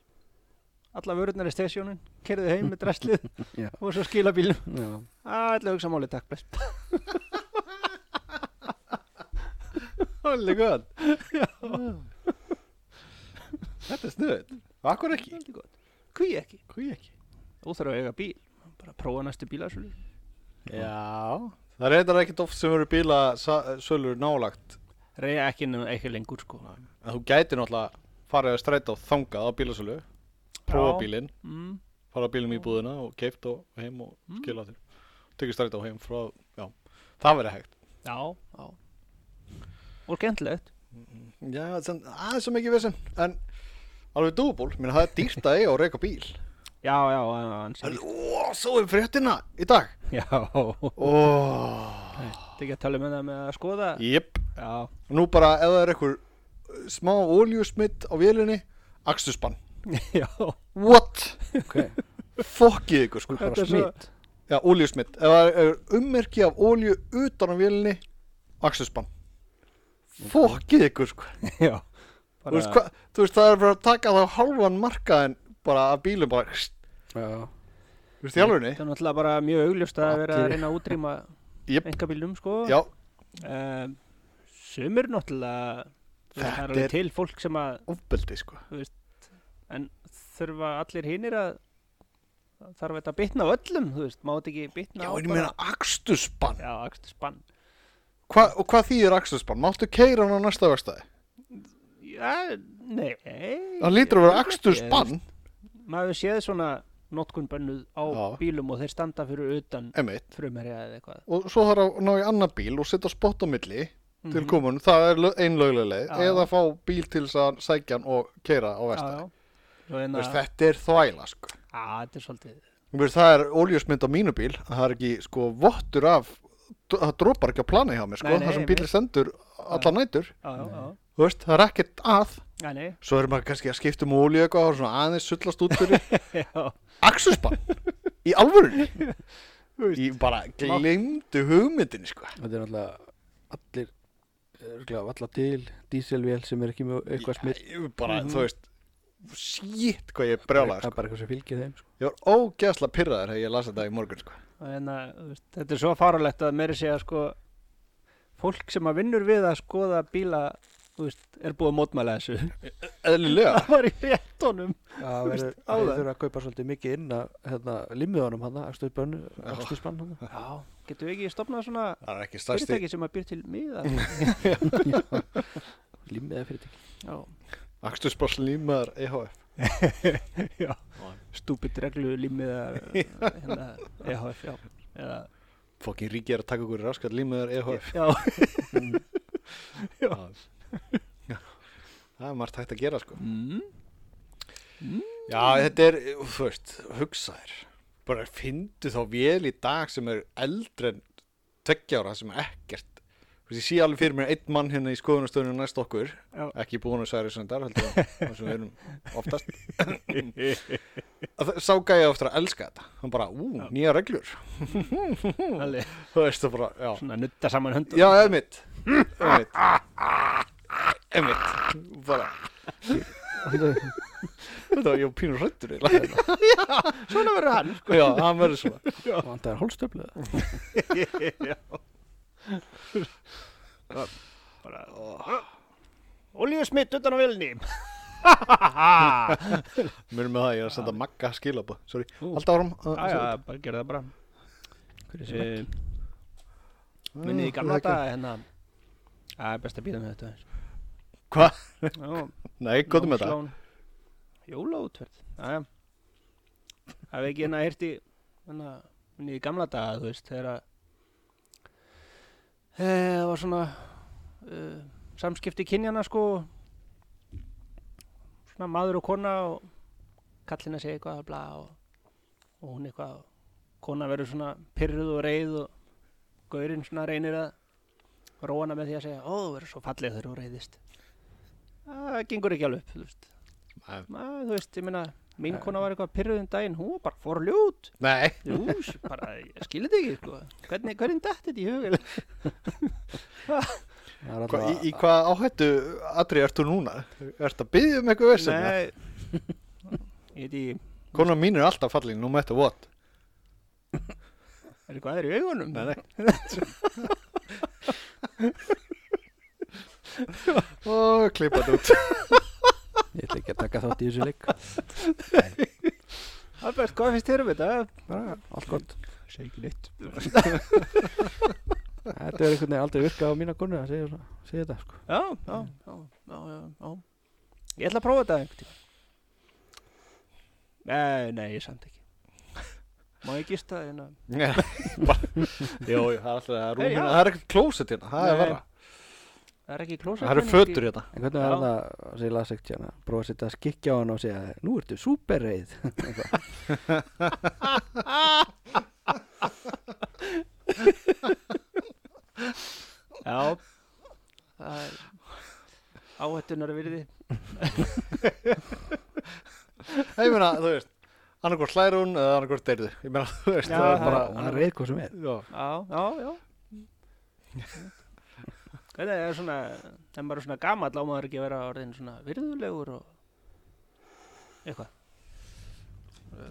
Speaker 2: alla vörurnar í stationin, kerðið heim með dresslið
Speaker 3: Já.
Speaker 2: og svo skila bílum
Speaker 3: Já
Speaker 2: Það ætla að hugsa máli, takk bless
Speaker 1: holy god þetta er snuðið akkur ekki,
Speaker 2: Heldur gott. Hví ekki?
Speaker 1: hví ekki
Speaker 2: Óþarf að eiga bíl Bara prófa næstu bílasölu
Speaker 1: já, það er eitthvað ekkert oft sem eru bíla sa- sölur nálagt
Speaker 2: Reyja ekki nema ekki lengur sko
Speaker 1: en þú gæti náttúrulega farið að stræta og þangað á bílasölu prófa
Speaker 2: Já.
Speaker 1: bílinn,
Speaker 2: mm.
Speaker 1: fara bílum í búðina og keift og heim og skila þér tekið stræta og heim frá, já, það verið hægt
Speaker 2: Já, já Og gentlegt
Speaker 1: Já, sem, aðeins sem ekki vissum En alveg dúból, minna það er dýrt að eiga og reyka bíl
Speaker 2: Já, já, hann
Speaker 1: Það er,
Speaker 2: sér
Speaker 1: ó, svo er fréttina í dag
Speaker 2: Já, þetta
Speaker 1: Ó,
Speaker 2: ekki að tala með það með að skoða
Speaker 1: jip
Speaker 2: Já,
Speaker 1: Nú bara ef það er einhver uh, smá oljusmitt á vélinni Akstusbann
Speaker 2: já
Speaker 1: What?
Speaker 3: Ok
Speaker 1: Fokkið ykkur sko
Speaker 3: Bara
Speaker 2: Þetta er svo-
Speaker 3: smít
Speaker 1: Já, oljusmitt Ef það er ummerki af olju utan á vélinni Akstusbann Fokkið ykkur sko
Speaker 2: Já
Speaker 1: þú, veist, hva, þú veist það er bara að taka þá halvan markaðin bara að bílum bara Þú
Speaker 3: Já
Speaker 1: veist í alvegni
Speaker 2: Það er náttúrulega bara mjög augljóst að vera að
Speaker 3: Allir-
Speaker 2: reyna að útrýma
Speaker 1: Jip,
Speaker 2: enga bílum sko
Speaker 1: já,
Speaker 2: um, Sumir náttúrulega þú veist, Það
Speaker 1: Þetta
Speaker 2: er alveg
Speaker 1: er-
Speaker 2: til fólk sem að
Speaker 1: ofbeldi sko
Speaker 2: en þurfa allir hinnir að þarf þetta að bitna á öllum, þú veist, má þetta ekki bitna
Speaker 1: Já,
Speaker 2: á
Speaker 1: en ég meina akstusbann
Speaker 2: já, akstur spann
Speaker 1: Hva, og hvað þýðir akstursbann? Máttu keira hann á næsta verstaði?
Speaker 2: Já, nei
Speaker 1: Það lítur að vera
Speaker 2: ég veit ekki,
Speaker 1: akstursbann
Speaker 2: maður hefur séð svona notkun bönnuð á
Speaker 1: Já.
Speaker 2: bílum og þeir standa fyrir utan
Speaker 1: Emitt
Speaker 2: frumherja eða eitthvað
Speaker 1: Og svo þarf að ná í annan bíl og setja spott á milli til komun Það er lög- ein lögleg leið
Speaker 2: Mhm. Já.
Speaker 1: Eða fá bíl til þess að sækja hann og keira á verstaði
Speaker 2: Svo en
Speaker 1: Þú
Speaker 2: að,
Speaker 1: veist, Þetta er þvæla sko
Speaker 2: þetta er svolítið
Speaker 1: Hérna- Þú veist, Það er óljusmynd á mínu bíl Það er ekki sko vottur af Það dropar ekki á plani hjá mér sko
Speaker 2: Nei, nei,
Speaker 1: Það sem
Speaker 2: einmitt.
Speaker 1: bílir sendur allar nætur
Speaker 2: Já, já, já,
Speaker 1: Þú veist, Það er ekkert að
Speaker 2: já, nei,
Speaker 1: Svo er maður kannski að skipta um ólíu eitthvað og svona aðeins sullast út fyrir
Speaker 2: já,
Speaker 1: Aksusbann Í alvörunni
Speaker 2: Þú veist.
Speaker 1: Ég bara glemdu hugmyndinni sko
Speaker 3: Þetta er náttúrulega allir örgulega valla til dísilvél sem er ekki með eitthvað smitt
Speaker 1: Ég bara, þú veist Sýtt hvað ég brjálaði
Speaker 3: Það er
Speaker 1: sko
Speaker 3: bara eitthvað sem fylgir þeim sko.
Speaker 1: Ég var ógeðslega pyrraður þegar ég las þetta í morgun sko
Speaker 2: en að, hérna, þú veist, þetta er svo farulegt að meiri segja sko fólk sem að vinnur við að skoða bíla þú veist, er búið að mótmæla þessu
Speaker 1: Eðlilega
Speaker 2: það var í réttunum
Speaker 3: Það
Speaker 2: veist,
Speaker 3: verður
Speaker 2: áðan.
Speaker 3: það þurfa að kaupa svolítið mikið inn að hérna, limið honum hann Akstursbann hann
Speaker 2: já, getum við ekki stopnað svona
Speaker 1: Það er ekki stærsti
Speaker 2: fyrirtæki sem að býr til miða
Speaker 3: Limið eða fyrirtæki
Speaker 2: já,
Speaker 1: Akstursbann límaður EHF
Speaker 2: já. stúpid reglu límiðar hérna, EHF, já eða,
Speaker 1: Fokkin ríki er að taka okkur raskat límaður EHF
Speaker 2: já, já.
Speaker 1: Það er margt hægt að gera sko
Speaker 2: Mm.
Speaker 1: Já, þetta er, þú veist, hugsaðir Bara fyndu þá vel í dag sem er eldri en tveggja ára sem er ekkert Þú veist, ég sé alveg fyrir mér einn mann hérna í skoðunastöðunum næst okkur
Speaker 2: Já.
Speaker 1: ekki búin að særi sem þar heldur ég, það sem við erum oftast Að það- sá gæja oftar að elska þetta hann bara, ú, nýja reglur
Speaker 2: Alveg,
Speaker 1: þú veist það bara, já
Speaker 2: svona nutta saman höndum
Speaker 1: já, emitt, emitt emitt bara, þetta var ég var pínur hrættur já,
Speaker 2: svona verður hann
Speaker 1: hann verður svona
Speaker 3: Það er hálstöflu
Speaker 2: bara Olíusmitt utan á vilni
Speaker 1: mér með það, ég er að senda magga skilabóð sorry, alltaf árum
Speaker 2: Æja, bara gera það bara Eh, Minnið í gamla daga hérna Það er best að býða með þetta aðeins.
Speaker 1: hvað,
Speaker 2: Já,
Speaker 1: nei, gotum með það
Speaker 2: námslán. Jólaútferð Æja Það er ekki hérna hirti Minnið hérna í gamla daga, þú veist Þegar að eh, Það var svona uh, Samskipti kynjana sko Svona maður og kona og kallina segir eitthvað bla, og, og hún eitthvað og kona verður svona pyrruð og reið og gaurinn svona reynir að róa hana með því að segja ó þú verður svo falleg þegar þú reyðist það gengur ekki alveg upp þú veist,
Speaker 1: Nei.
Speaker 2: Næ, þú veist ég meina mín kona var eitthvað pyrruð um daginn hún var bara forljút
Speaker 1: nei,
Speaker 2: Jús, bara, ég skilði þetta ekki sko. hvernig, hvernig dætti þetta í hug eiginlega?
Speaker 3: Það er
Speaker 1: Hva, í,
Speaker 3: alltaf
Speaker 1: í hvað áhættu Adri, ert þú núna? Ert að byggja um eitthvað vesen? eða?
Speaker 2: Nei ég veit ég,
Speaker 1: Konan mín er alltaf fallin, no matter what
Speaker 2: er eitthvað aðri í augunum
Speaker 1: nei Ó, klippa þetta út
Speaker 3: Ég ætla ekki að taka þátt í þessu leik
Speaker 2: Albert, hvað finnst þér um þetta?
Speaker 3: Bara Allt gott
Speaker 2: Segir ekki neitt
Speaker 3: Þetta er einhvern veginn aldrei virkað á mína konu að segja, svona- segja þetta sko.
Speaker 2: já, já, já, já, já, já. Ég ætla að prófa þetta einhvern tíma. Nei, nei, ég samt ekki. Má ég gista það hérna?
Speaker 1: Nei, bara- Jó, jú, það er alltaf það er
Speaker 2: Hey, já.
Speaker 1: rúmina Það er ekkert klósett hérna, það er
Speaker 2: Nei.
Speaker 1: verra
Speaker 2: Það er ekki klósa.
Speaker 1: Það eru fötur hérna
Speaker 3: En hvernig
Speaker 2: Já.
Speaker 3: var það að segja lasegt hérna Prófa að setja skikki á hann og segja Nú ertu súperreið Eitthvað.
Speaker 2: Já. Það er áhættunar virði.
Speaker 1: Ég meina, þú veist annarkvort hlæru hún eða annarkvort deyrðu Ég meina, þú veist,
Speaker 2: Já,
Speaker 1: það er
Speaker 2: það
Speaker 1: bara
Speaker 3: Hann reið hvað sem er
Speaker 1: já.
Speaker 2: Já, já, já. Þetta er svona, þegar maður er svona gamall á maður ekki að vera orðin svona virðulegur og eitthvað.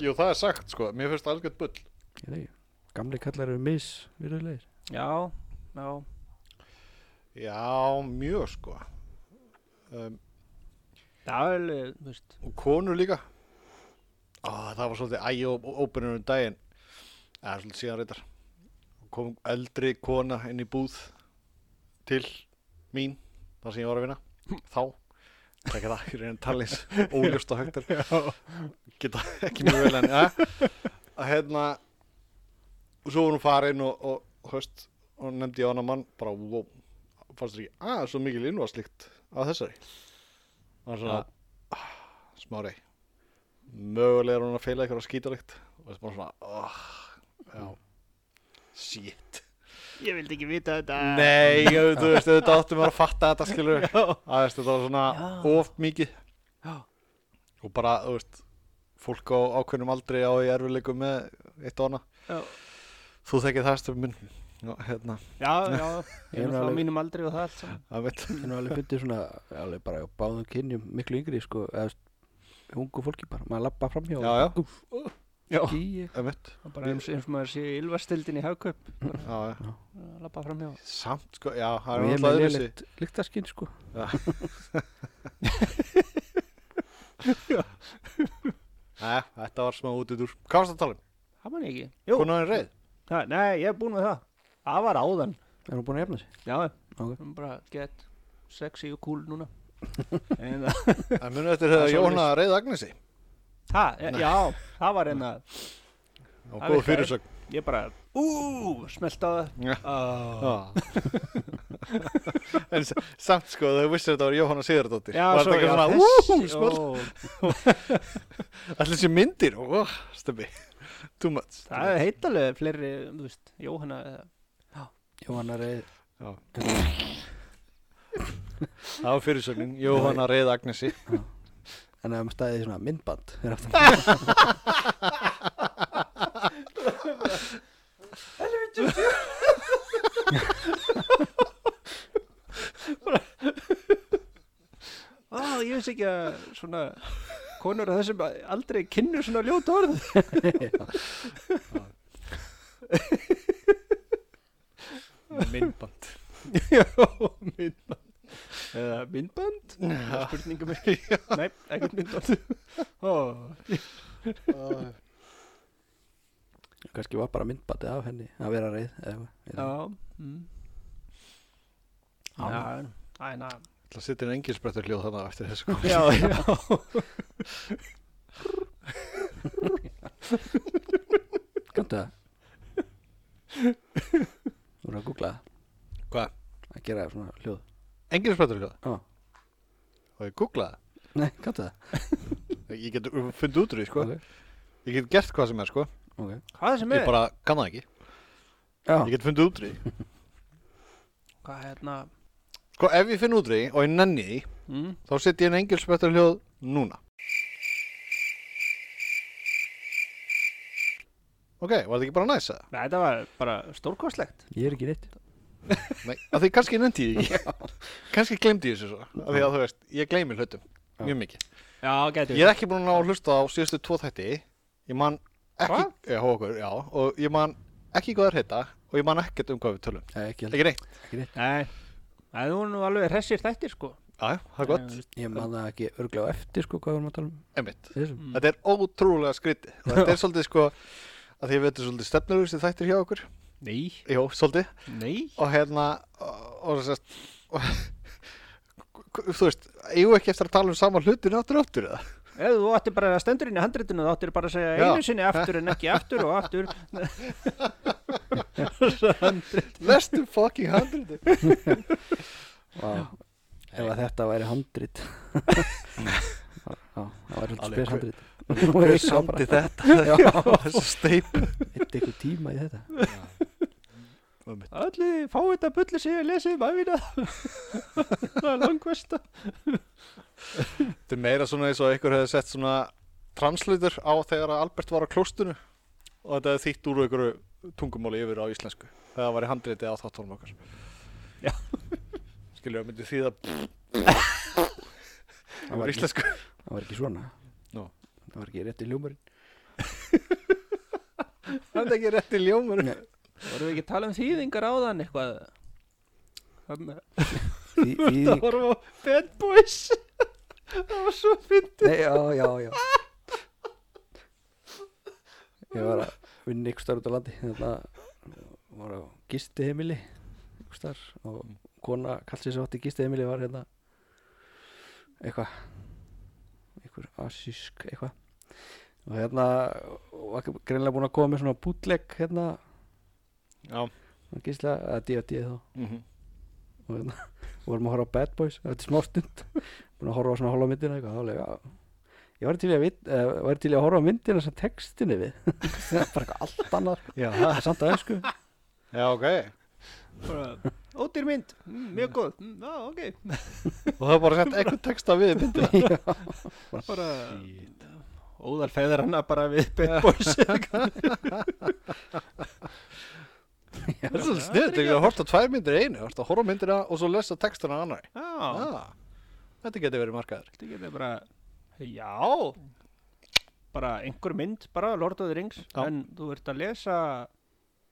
Speaker 1: Jú, það er sagt, sko, mér finnst það algjörn bull
Speaker 3: Ég veit ekki. Gamli kallar eru mis virðulegir.
Speaker 2: Já, já,
Speaker 1: Já, mjög, sko um,
Speaker 2: það er alveg, þú veist,
Speaker 1: og konur líka Ó, það var svolítið ægjó óbyrjunum um daginn eða svolítið síðan reyndar kom eldri kona inn í búð til mín þar sem ég var að vinna þá það er það, ég reyna talins óljóst og högt er geta ekki mjög vel en ja, að hérna og svo var hún farin og, og, og höst og nefndi ég á annan mann bara wow, fannst þér ekki að svo mikil innvarslíkt að þessari og hann svona ah, smárei mögulega er hún að feila eitthvað skítalikt og það er bara svona oh, já, shit
Speaker 2: Ég vildi ekki vita þetta
Speaker 1: Nei, ég- þú veist, auðvitað áttum við að fatta þetta, skilur við. Það veist, þetta var svona
Speaker 2: Já.
Speaker 1: of mikið.
Speaker 2: Já.
Speaker 1: Og bara, þú veist, fólk á ákveðnum aldrei á í erfileikum með eitt og annað.
Speaker 2: Já,
Speaker 1: Þú þekkið það stöfum minn. Já, hérna,
Speaker 2: já, já
Speaker 3: Ég er
Speaker 2: Ég er
Speaker 3: alveg-
Speaker 2: frá mínum aldrei og það allt saman
Speaker 1: það veit.
Speaker 3: Ég nú alveg fundið svona, alveg bara á báðum kynjum miklu yngri, sko, eða þú veist, ungu fólki bara, maður lappa framhjá
Speaker 1: Já, já.
Speaker 3: Úf,
Speaker 1: Já.
Speaker 3: Gíi,
Speaker 1: Það veit.
Speaker 2: Og bara eins, eins og maður sé í ylvastildin í hagkaup
Speaker 1: Já, já.
Speaker 2: Lappa fram hjá
Speaker 1: Samt, sko, já, það
Speaker 3: og
Speaker 1: er
Speaker 3: ég með
Speaker 1: náttúrulega öðru sig.
Speaker 3: lélitt lyktaskinn, sko
Speaker 1: Nei, Eh, þetta var smá út út úr. Hvað varst það að tala um?
Speaker 2: Það man ég ekki Jú,
Speaker 1: Hún á henni reið?
Speaker 2: það- nei, ég er búin með það Það var áðan
Speaker 3: Er hún búin að efna sig?
Speaker 2: Já,
Speaker 3: Ok.
Speaker 2: hún bara get sexy og cool núna En það-
Speaker 1: Það munið eftir að
Speaker 2: Það er
Speaker 1: Jóhanna reið Agnesi.
Speaker 2: það, e- já, það var einna
Speaker 1: Og
Speaker 2: Það
Speaker 1: góð
Speaker 2: virkaði.
Speaker 1: fyrirsögn.
Speaker 2: Ég bara, ú, smelt á
Speaker 1: Já.
Speaker 2: það Ah.
Speaker 1: Já. en s- samt sko þau vissir að þetta var Jóhanna Sigurdóttir
Speaker 2: Já,
Speaker 1: var
Speaker 2: svo,
Speaker 1: þetta ekki
Speaker 2: já,
Speaker 1: svona
Speaker 2: þessi,
Speaker 1: "Ú, small
Speaker 2: ó,
Speaker 1: Allir sem myndir, oh, stömmi, too much.
Speaker 2: Það er heitalega fleiri, þú veist, Jóhanna eða-
Speaker 3: Jóhanna Reið
Speaker 1: Já. Það var fyrirsögnin, Jóhanna Reið Agnesi.
Speaker 3: En það staðið í svona myndband fyrir aftan.
Speaker 2: Á, ég veist ekki að svona konur að þessum aldrei kynnu svona ljóta orð
Speaker 1: Myndband.
Speaker 2: Já, myndband Eða myndband? Það er spurningum ekki Nei, ekkert myndband Ó,
Speaker 3: Kannski var bara myndbandið af henni að vera reið eða eitthvað.
Speaker 2: Já mm. Já, en- æ, na
Speaker 1: Það sittir en engin sprettur hljóð þannig eftir þessu komið.
Speaker 2: Já, já
Speaker 3: Kanntu það? Þú voru að googla það
Speaker 1: Hvað?
Speaker 3: að gera svona hljóð
Speaker 1: Engin sprettur hljóð?
Speaker 3: Já.
Speaker 1: Og ég googlaði.
Speaker 3: Nei, kanntu það?
Speaker 1: það. Ég get fundið út úr því, sko.
Speaker 3: Ok,
Speaker 1: Ég get gert hvað sem er, sko.
Speaker 3: ok
Speaker 2: Hvað sem
Speaker 1: Ég
Speaker 2: er?
Speaker 1: bara kann það ekki.
Speaker 3: Já,
Speaker 1: Ég get fundið út úr því.
Speaker 2: Hvað hérna?
Speaker 1: Sko, ef ég finn út úr því og ég nenni því,
Speaker 2: Mm?
Speaker 1: þá sitt ég en engin sprettur hljóð núna. Ok, var þetta ekki bara næs að?
Speaker 2: Nei, þetta var bara stórkostlegt
Speaker 3: ég er ekki neitt
Speaker 1: Nei, að því kannski nefndi ég því ekki. kannski glemdi ég þessu svo af því að þú veist, ég gleymi hlutum mjög mikið
Speaker 2: Já, getur
Speaker 1: ég er ekki búin að ná að hlusta á síðustu tvo þætti ég man ekki
Speaker 2: Hva?
Speaker 1: já, hjá okkur, já, og ég man ekki hvað er heita og ég man ekkert um hvað við tölum
Speaker 3: Nei, ekki heldur
Speaker 1: ekki neitt,
Speaker 2: Nei, það er nú alveg hressir þættir sko
Speaker 1: já, það er gott,
Speaker 3: Ég man það ekki örglega á eftir sko hvað við erum að tala um
Speaker 1: einmitt
Speaker 3: í
Speaker 2: Mm.
Speaker 3: þessum
Speaker 1: þetta er ótrúlega skrítið og þetta er svolítið sko að því að við þetta er svolítið stefnurugstu þættir hjá okkur
Speaker 2: Nei,
Speaker 1: jú, svolítið
Speaker 2: nei
Speaker 1: og hérna og, og, sest, og þú veist, eigum við ekki eftir að tala um sama hlutin áttur áttur eða?
Speaker 2: Ef þú ættir bara að stendur inn í handritinu þá ættir bara að segja
Speaker 1: Já.
Speaker 2: einu sinni aftur en ekki aftur og aftur
Speaker 1: Lestu fucking handriti
Speaker 3: Vá, ef að þetta væri handrit Já, það væri
Speaker 1: Alveg,
Speaker 3: svolítið spes
Speaker 1: hver-
Speaker 3: handrit Hver
Speaker 1: þetta?
Speaker 3: Já,
Speaker 1: Þessu steip
Speaker 3: eitt eitthvað tíma í þetta
Speaker 2: Allir fá þetta bulli sig að lesa í mæfina Það er langvesta
Speaker 1: Þetta er meira svona eins og ykkur hefði sett svona translator á þegar að Albert var á klóstunu og þetta hefði þýtt úr ykkur tungumáli yfir á íslensku þegar það væri handriti á þáttónum okkar
Speaker 2: Já.
Speaker 1: Skilju, það myndi þýða
Speaker 3: Það
Speaker 1: yfir
Speaker 3: var ekki,
Speaker 1: íslensku
Speaker 3: það var ekki svona
Speaker 1: Nú.
Speaker 3: Það var ekki rétti hljómarinn
Speaker 1: Það er ekki rétt í ljómur
Speaker 3: Nei.
Speaker 2: Vorum við ekki að tala um þýðingar áðan eitthvað Þannig að
Speaker 3: Því, því,
Speaker 2: það vorum á Bad Boys Það var svo fyndið
Speaker 3: Nei, já, já, já Ég var að vinna hérna, ykkur starf út á landi Þetta var á gisti heimili Ykkur starf Og kona kallsi sem átti gistið Emilí var hérna eitthvað einhver asísk eitthvað og hérna var greinlega búin að koma með svona bútleg hérna
Speaker 1: Já
Speaker 3: gísla að D.O.D. þá
Speaker 1: mhm.
Speaker 3: og hérna vorum að horfa á Bad Boys eftir smá stund búin að horfa á svona horfa á myndina eitthvað þá lega ég var til, í að vit, uh, var til í að horfa á myndina sem textinni við það er bara eitthvað allt annar
Speaker 1: Já, ha.
Speaker 3: samt að ösku
Speaker 1: já, ok
Speaker 2: bara, ódýr mynd, mm, mjög góð mm, já, ok,
Speaker 1: Og það er bara sett eitthvað texta við myndina
Speaker 2: bara óðal feður hana bara við Bad Boys
Speaker 1: Það er svolítið sniðt, þegar þú horfst á tvær myndir í einu Þú horfst að horfa á myndina og svo lesa textana á annari
Speaker 2: já,
Speaker 1: ah, Þetta getur verið markaður
Speaker 2: þetta getur bara já bara einhver mynd, bara Lord of the Rings
Speaker 1: Já.
Speaker 2: en þú ert að lesa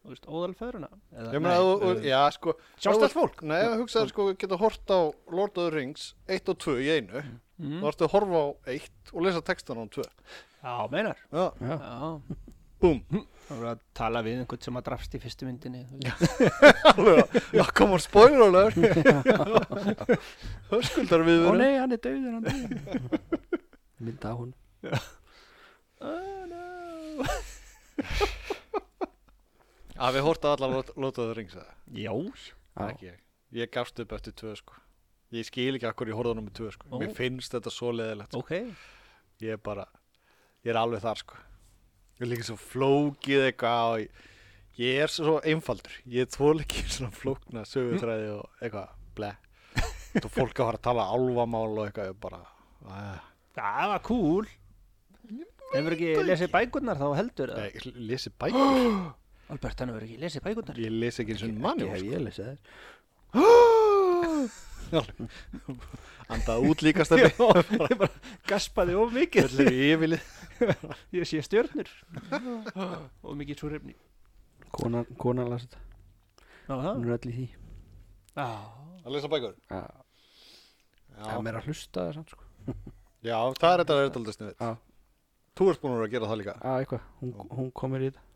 Speaker 2: þú veist, óðal feðurna
Speaker 1: Ég meina að þú,
Speaker 2: eh,
Speaker 1: já sko
Speaker 2: Sjálfstætt
Speaker 1: fólk? Nei, ég hugsaði sko, geta hort á Lord of the Rings 1 og 2 í einu Þú ertu að horfa á 1 og lesa textana á 2
Speaker 2: já, meinar
Speaker 1: Já,
Speaker 3: Já.
Speaker 2: já,
Speaker 1: búm
Speaker 2: þú ert að tala við einhvern sem að drafst í fyrstu myndinni þú veist.
Speaker 1: Alveg, já, kom on, spoiler alert Hörskuldar við
Speaker 3: ó nei, hann er dauður hann er dauður mynda á hún
Speaker 2: oh no
Speaker 1: Að við horta allar Lord Lord of the Rings eða?
Speaker 2: já,
Speaker 3: Já.
Speaker 1: Ekki ég Ég gafst upp eftir 2 sko Ég skil ekki akkur ég horfði á nummer 2 sko
Speaker 2: Ó.
Speaker 1: Mér finnst þetta svo leðilegt
Speaker 2: ok
Speaker 1: Ég er bara, ég er alveg þar sko Ég er líka svo flókið eitthvað og ég, ég er svo einfaldur Ég þvól ekki svona flókna sögutræði og eitthvað ble Þú fólk að fara að tala álfamál og eitthvað ég bara uh,
Speaker 2: það var cool hefur ekki lesið bækurnar þá heldur eða?
Speaker 1: Nei, ég lesi bækur
Speaker 2: Albert, hann hefur ekki lesið bækurnar
Speaker 1: Ég lesi ekki eins og
Speaker 3: ekki
Speaker 1: manni
Speaker 3: hef ég lesið þér
Speaker 1: Andað út líka stefni
Speaker 2: ég bara gaspaði of mikið
Speaker 1: Þetta er yfirlið
Speaker 2: ég sé stjörnur og mikið súrefni
Speaker 3: konan, konan las þetta,
Speaker 2: á það
Speaker 3: hún er öll í því
Speaker 2: á,
Speaker 1: Að lesa bækur
Speaker 3: Já, það er
Speaker 1: Já,
Speaker 3: meira að hlusta það samt sko
Speaker 1: já það er þetta er þetta aldrei sniðið
Speaker 3: Já.
Speaker 1: Þú ert búin að vera að gera það líka
Speaker 3: Já, Ah, eitthvað, hún, hún komir í þetta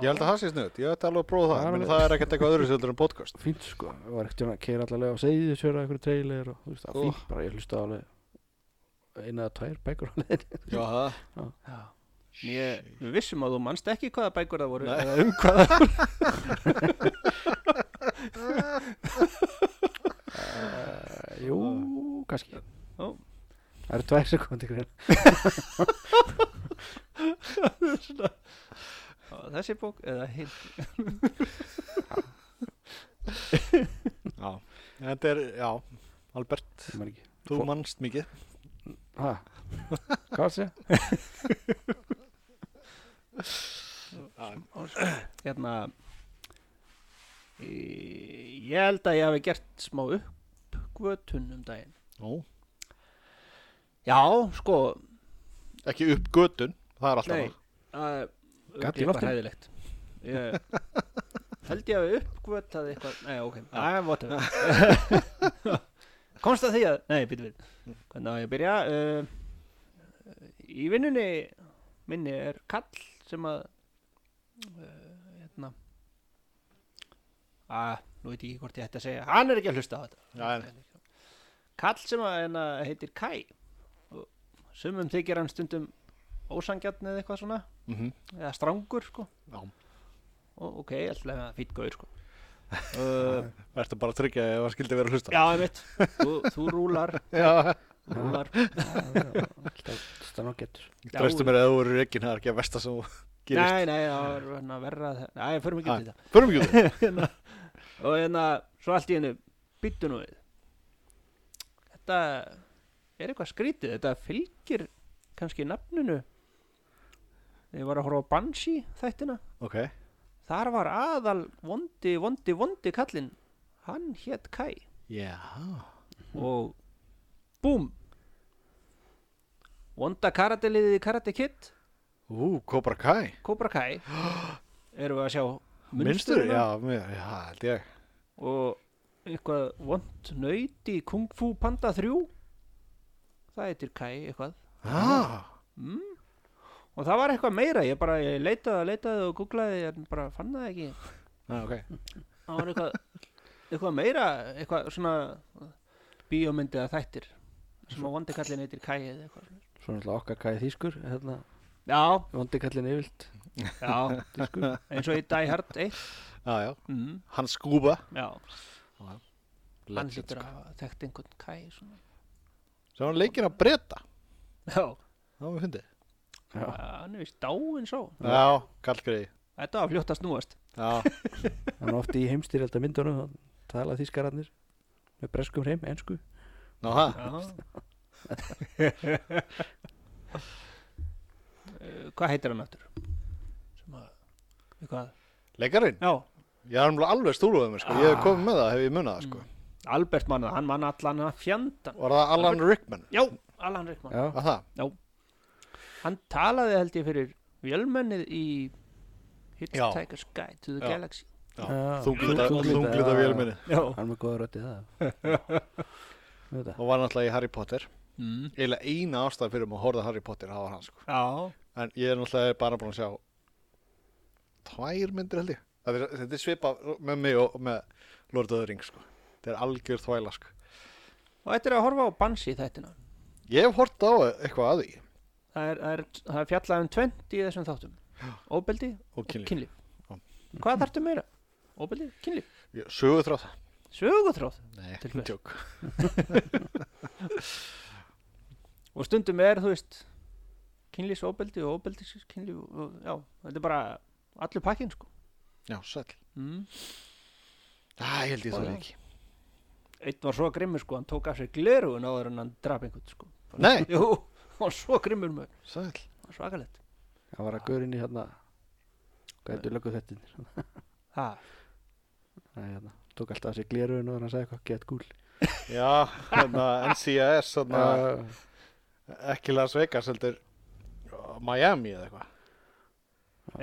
Speaker 1: Ég held að það sé sniðið, ég ætti alveg að prófa það
Speaker 3: Já,
Speaker 1: Ég meina,
Speaker 3: alveg.
Speaker 1: Það er ekkert eitthvað öðru söldur en podcast
Speaker 3: fínt sko, það var ekkert að keira allavega á segið, sjöra einhverju trailer og þú veist, það var
Speaker 1: Úff.
Speaker 3: fínt, bara ég hlusta alveg eina eða tvær bækur á leiðinni
Speaker 1: Já, það
Speaker 2: ég, við vissum að þú manst ekki hvaða bækur það voru
Speaker 1: Nei.
Speaker 2: eða um hvaða
Speaker 3: uh, Jú, kannski
Speaker 2: Ó.
Speaker 3: Það eru tvær sem komið til greina
Speaker 2: á, þessi bók eða hinn
Speaker 1: Já, þetta er, já, Albert,
Speaker 3: Ég man ekki.
Speaker 1: þú
Speaker 3: Fó-
Speaker 1: mannst mikið
Speaker 3: Ha, hvað það sé?
Speaker 2: hérna í- ég held að ég hafi gert smá uppgötun um daginn
Speaker 1: Ó.
Speaker 2: já, sko
Speaker 1: Ekki upp götun, það er alltaf
Speaker 2: nei
Speaker 1: það.
Speaker 2: að-
Speaker 3: Gat í
Speaker 2: eitthvað
Speaker 3: loftinu?
Speaker 2: hræðilegt ég held ég hafi uppgötað eitthvað nei, ok, að, whatever komst að því að nei, býtum við hvernig á ég að byrja uh, í vinnunni minni er kall sem að uh, hérna að, nú veit ég ekki hvort ég ætti að segja hann er ekki að hlusta á þetta
Speaker 1: Já, en-
Speaker 2: kall sem að hérna, heitir Kai og sumum þykir hann stundum ósangjarn eða eitthvað svona
Speaker 1: Mhm.
Speaker 2: eða strangur sko
Speaker 1: Já.
Speaker 2: og ok, alltaf fýtt gauður sko uh,
Speaker 1: Vertu bara að tryggja ef það skildi vera að hlusta
Speaker 2: já, ég veit þú, þú rúlar,
Speaker 1: já.
Speaker 2: rúlar
Speaker 3: Þetta ná getur
Speaker 1: Ég treystu mér að þú eru ekki, það er ekki að versta sem þú gerist Ah.
Speaker 2: nei, nei, það var hérna, verra að- nei, förum ekki
Speaker 1: Nei.
Speaker 2: um þetta
Speaker 1: Förum ekki út í það.
Speaker 2: og hérna, svo allt í hennu býttu nú við þetta er eitthvað skrítið þetta fylgir kannski nafninu þegar ég var að horfa á Banshee þættina
Speaker 1: Ok,
Speaker 2: þar var aðal vondi, vondi, vondi kallinn hann hétt Kai
Speaker 1: já
Speaker 2: og búm vonda karateliðið í Karate Kid
Speaker 1: Ú, Cobra Kai
Speaker 2: Cobra Kai erum við að sjá
Speaker 1: Minnstur,
Speaker 2: munstruna
Speaker 1: já, mér, já, held ég
Speaker 2: og eitthvað vond nöyt í Kung Fu Panda 3 það heitir Kai eitthvað
Speaker 1: ah.
Speaker 2: og það var eitthvað meira, ég bara ég leitaði, leitaði og googlaði en bara fann það ekki
Speaker 1: ah, ok
Speaker 2: það var eitthvað eitthvað meira, eitthvað svona bíómyndi eða þættir sem að vondikallin eitir kæi eða eitthvað svona.
Speaker 3: Svo er náttúrulega okkar kæði þýskur hérna,
Speaker 2: Já,
Speaker 3: Vondikallin yfilt
Speaker 2: já,
Speaker 3: þýskur
Speaker 2: eins og í Die Hard 1
Speaker 1: Já, já,
Speaker 2: mm,
Speaker 1: hann skúba
Speaker 2: Já, hann
Speaker 1: Legend,
Speaker 2: lítur
Speaker 1: sko.
Speaker 2: að hafa þekkt einhvern kæi svona.
Speaker 1: Sem hann leikir að breyta
Speaker 2: Já,
Speaker 1: Það var fyndið
Speaker 3: Já.
Speaker 2: hann er vist dáin svo
Speaker 1: Já, kallgriði
Speaker 2: Þetta var fljótt að snúast
Speaker 1: Já,
Speaker 3: Hann er ofti í heimstyrjölda myndunum Það tala þýskararnir með breskum hreim, ensku
Speaker 1: ná það
Speaker 2: Já Eh, Hvað heitir hann aftur? Sem að, eitthvað
Speaker 1: Leikarinn,
Speaker 2: Já,
Speaker 1: ég er alveg alveg stúluðum sko. Ég hef komið með það, hef ég munað það sko.
Speaker 2: Albert mannað, hann mann allan að fjanda
Speaker 1: Var það Alan Rickman?
Speaker 2: Já, Alan Rickman
Speaker 3: Já,
Speaker 1: Var það?
Speaker 2: Hann talaði held ég fyrir vélmennið í
Speaker 1: Já.
Speaker 2: Hitchhiker's Guide to the
Speaker 1: Já.
Speaker 2: Galaxy
Speaker 1: Já,
Speaker 3: Já,
Speaker 1: Þunglita,
Speaker 3: þunglita,
Speaker 1: þunglita
Speaker 3: já.
Speaker 1: vélminni
Speaker 2: Já
Speaker 3: hann er með góða röddið það Þetta.
Speaker 1: Og var náttúrulega í Harry Potter
Speaker 2: mm.
Speaker 1: Eiginlega eina ástæð fyrir mig að horfa á Harry Potter Það var hann sko
Speaker 2: Já,
Speaker 1: En ég er náttúrulega bara búin að sjá Tvær myndir held ég Það er, Þetta er svipa með mig og með Lord of the Rings sko Þetta er algjör þvæla sko
Speaker 2: og þetta er að horfa á Bansi þættina
Speaker 1: Ég hef hort á eitthvað að því
Speaker 2: Það er, það er, það er fjallað um 20 í þessum þáttum Óbeldi
Speaker 1: Og
Speaker 2: og
Speaker 1: kynlíf
Speaker 2: kynlíf
Speaker 1: Já.
Speaker 2: Hvað þarftu meira? Óbeldi, kynlíf,
Speaker 1: Sögu þráð
Speaker 2: sögutróð
Speaker 1: Nei,
Speaker 2: Til hvers?
Speaker 1: tjók
Speaker 2: og stundum er, þú veist kynlífs óbeldi og óbeldis kynlíf og, já, þetta er bara allur pakkin sko
Speaker 1: Já, sæll
Speaker 2: mm.
Speaker 1: Æ, ég held ég
Speaker 2: Bara-
Speaker 1: þorði ekki
Speaker 2: einn var svo grimmur sko, hann tók af sér glerugun áður en hann draf einhvern sko
Speaker 1: Nei,
Speaker 2: jú, hann var svo grimmur maður,
Speaker 1: sæll
Speaker 2: það var svakalegt
Speaker 3: Hann var að gaurinn í hérna Hvað heitir löggu þetta?
Speaker 2: ha,
Speaker 3: Nei, hérna Tók alltaf að sér gleruðin og hann sagði eitthvað Get gúl
Speaker 1: Já, hérna NCIS hérna,
Speaker 3: Já,
Speaker 1: ekki Las Vegas heldur uh, Miami eða eitthvað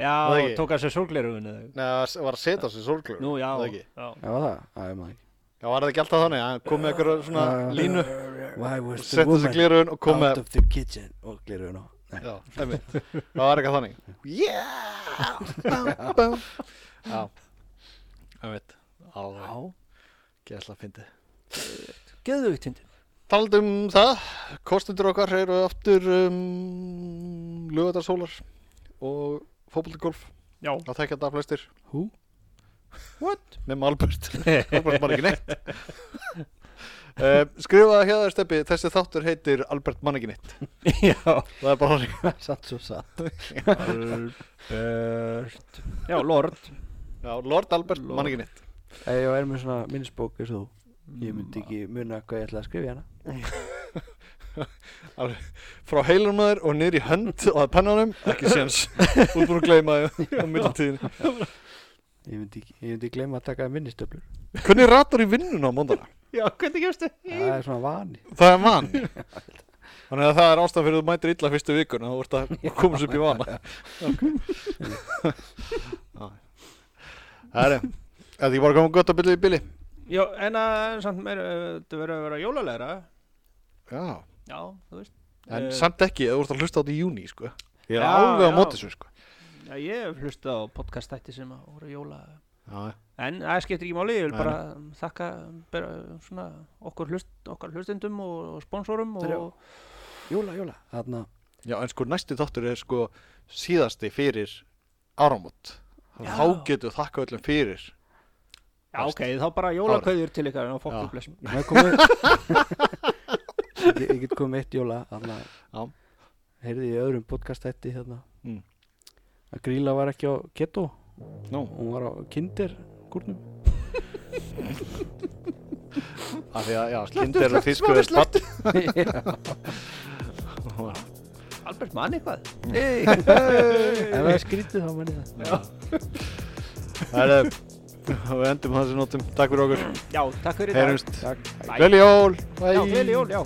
Speaker 2: já,
Speaker 1: Það ekki.
Speaker 2: tók af sér sólglerugun eða
Speaker 1: Nei, það var að setja sér sólglur
Speaker 2: nú, já,
Speaker 1: það ekki.
Speaker 2: já
Speaker 3: Já, var það? Já, ég maður ekki
Speaker 1: Já, var það ekki alltaf þannig að kom með eitthvað svona
Speaker 3: Já.
Speaker 1: línu
Speaker 3: Why was the
Speaker 1: setja sér
Speaker 3: woman
Speaker 1: glirun og kom
Speaker 3: out
Speaker 1: með
Speaker 3: of the kitchen og gleruðin og
Speaker 1: Já, einmitt. það var eitthvað þannig Yeah Bum, bum. Já, ég veit Alveg, gæsla fyndi
Speaker 2: geðu við tindin
Speaker 1: Taldum um það, kostendur okkar eru aftur um, lögatarsólar og fótboltagolf
Speaker 2: já,
Speaker 1: Það þekkja þetta flestir
Speaker 3: Hú?
Speaker 2: what?
Speaker 1: nema Albert Albert man ekki neitt uh, skrifaði hér þér steppi þessi þáttur heitir Albert man ekki neitt
Speaker 2: já,
Speaker 1: það er bara hann
Speaker 3: Satt svo satt
Speaker 2: Albert já, Lord
Speaker 1: já, Lord Albert
Speaker 2: Lord.
Speaker 1: man ekki neitt
Speaker 3: Ef ég er með svona minnisbók eins og þú Ég myndi ekki muna hvað ég ætla að skrifa í hana
Speaker 1: frá heilum maður og niður í hönd og að pennanum ekki séns þú er búin að gleyma því á middeltíðin
Speaker 3: Ég myndi, ekki- ég myndi gleyma að taka minnistöflur
Speaker 1: hvernig ratar í vinnuna á móndana
Speaker 2: já, hvernig gefstu?
Speaker 3: Það er svona vani
Speaker 1: það er mann þannig að það er ástæðan fyrir að þú mætir illa fyrstu vikuna þú ert að komast upp í vana ok það er Þetta ekki bara komið gott að byrja í bili
Speaker 2: já, en að samt meir, þetta verður að vera jólalegra
Speaker 1: Já
Speaker 2: já, þú veist
Speaker 1: En
Speaker 2: Eh,
Speaker 1: samt ekki, ef þú ert að hlusta á þetta í júni, sko. Ég er
Speaker 2: Já,
Speaker 1: alveg á
Speaker 2: já.
Speaker 1: móti þessu, sko.
Speaker 2: Já, ég hef hlustað á podcastætti sem að voru jóla
Speaker 1: Já,
Speaker 2: En það skiptir ekki máli, ég vil
Speaker 1: Nei,
Speaker 2: bara þakka bera, svona, okkur, hlust, okkar hlustendum og, og sponsórum og,
Speaker 3: Herjá. Jóla, jóla Þarna
Speaker 1: já en sko næsti þáttur er sko síðasti fyrir áramót.
Speaker 2: Já.
Speaker 1: Þá getur þakka öllum fyrir.
Speaker 2: Já, ok, þá bara jólakauður til ykkar en á fólk
Speaker 1: Já.
Speaker 2: og blessum
Speaker 3: Maður komið ég, ég get komið með eitt jóla Þarna
Speaker 1: Já.
Speaker 3: Heyrði ég í öðrum podcastætti hérna
Speaker 1: Mm.
Speaker 3: Að gríla var ekki á keto
Speaker 1: Nú,
Speaker 3: Hún var á kinder kurnum
Speaker 1: af því að, já, kindir og þýsku er spatt.
Speaker 2: Albert mann eitthvað
Speaker 3: Ef það er skrítið þá manni það
Speaker 1: Það er, við endum á þessu nótum. Takk fyrir okkur.
Speaker 2: Já, takk fyrir í dag
Speaker 1: Heyrumst.
Speaker 3: Takk
Speaker 2: Bye.
Speaker 1: Gleðli jól.
Speaker 2: Já, gleðileg jól, já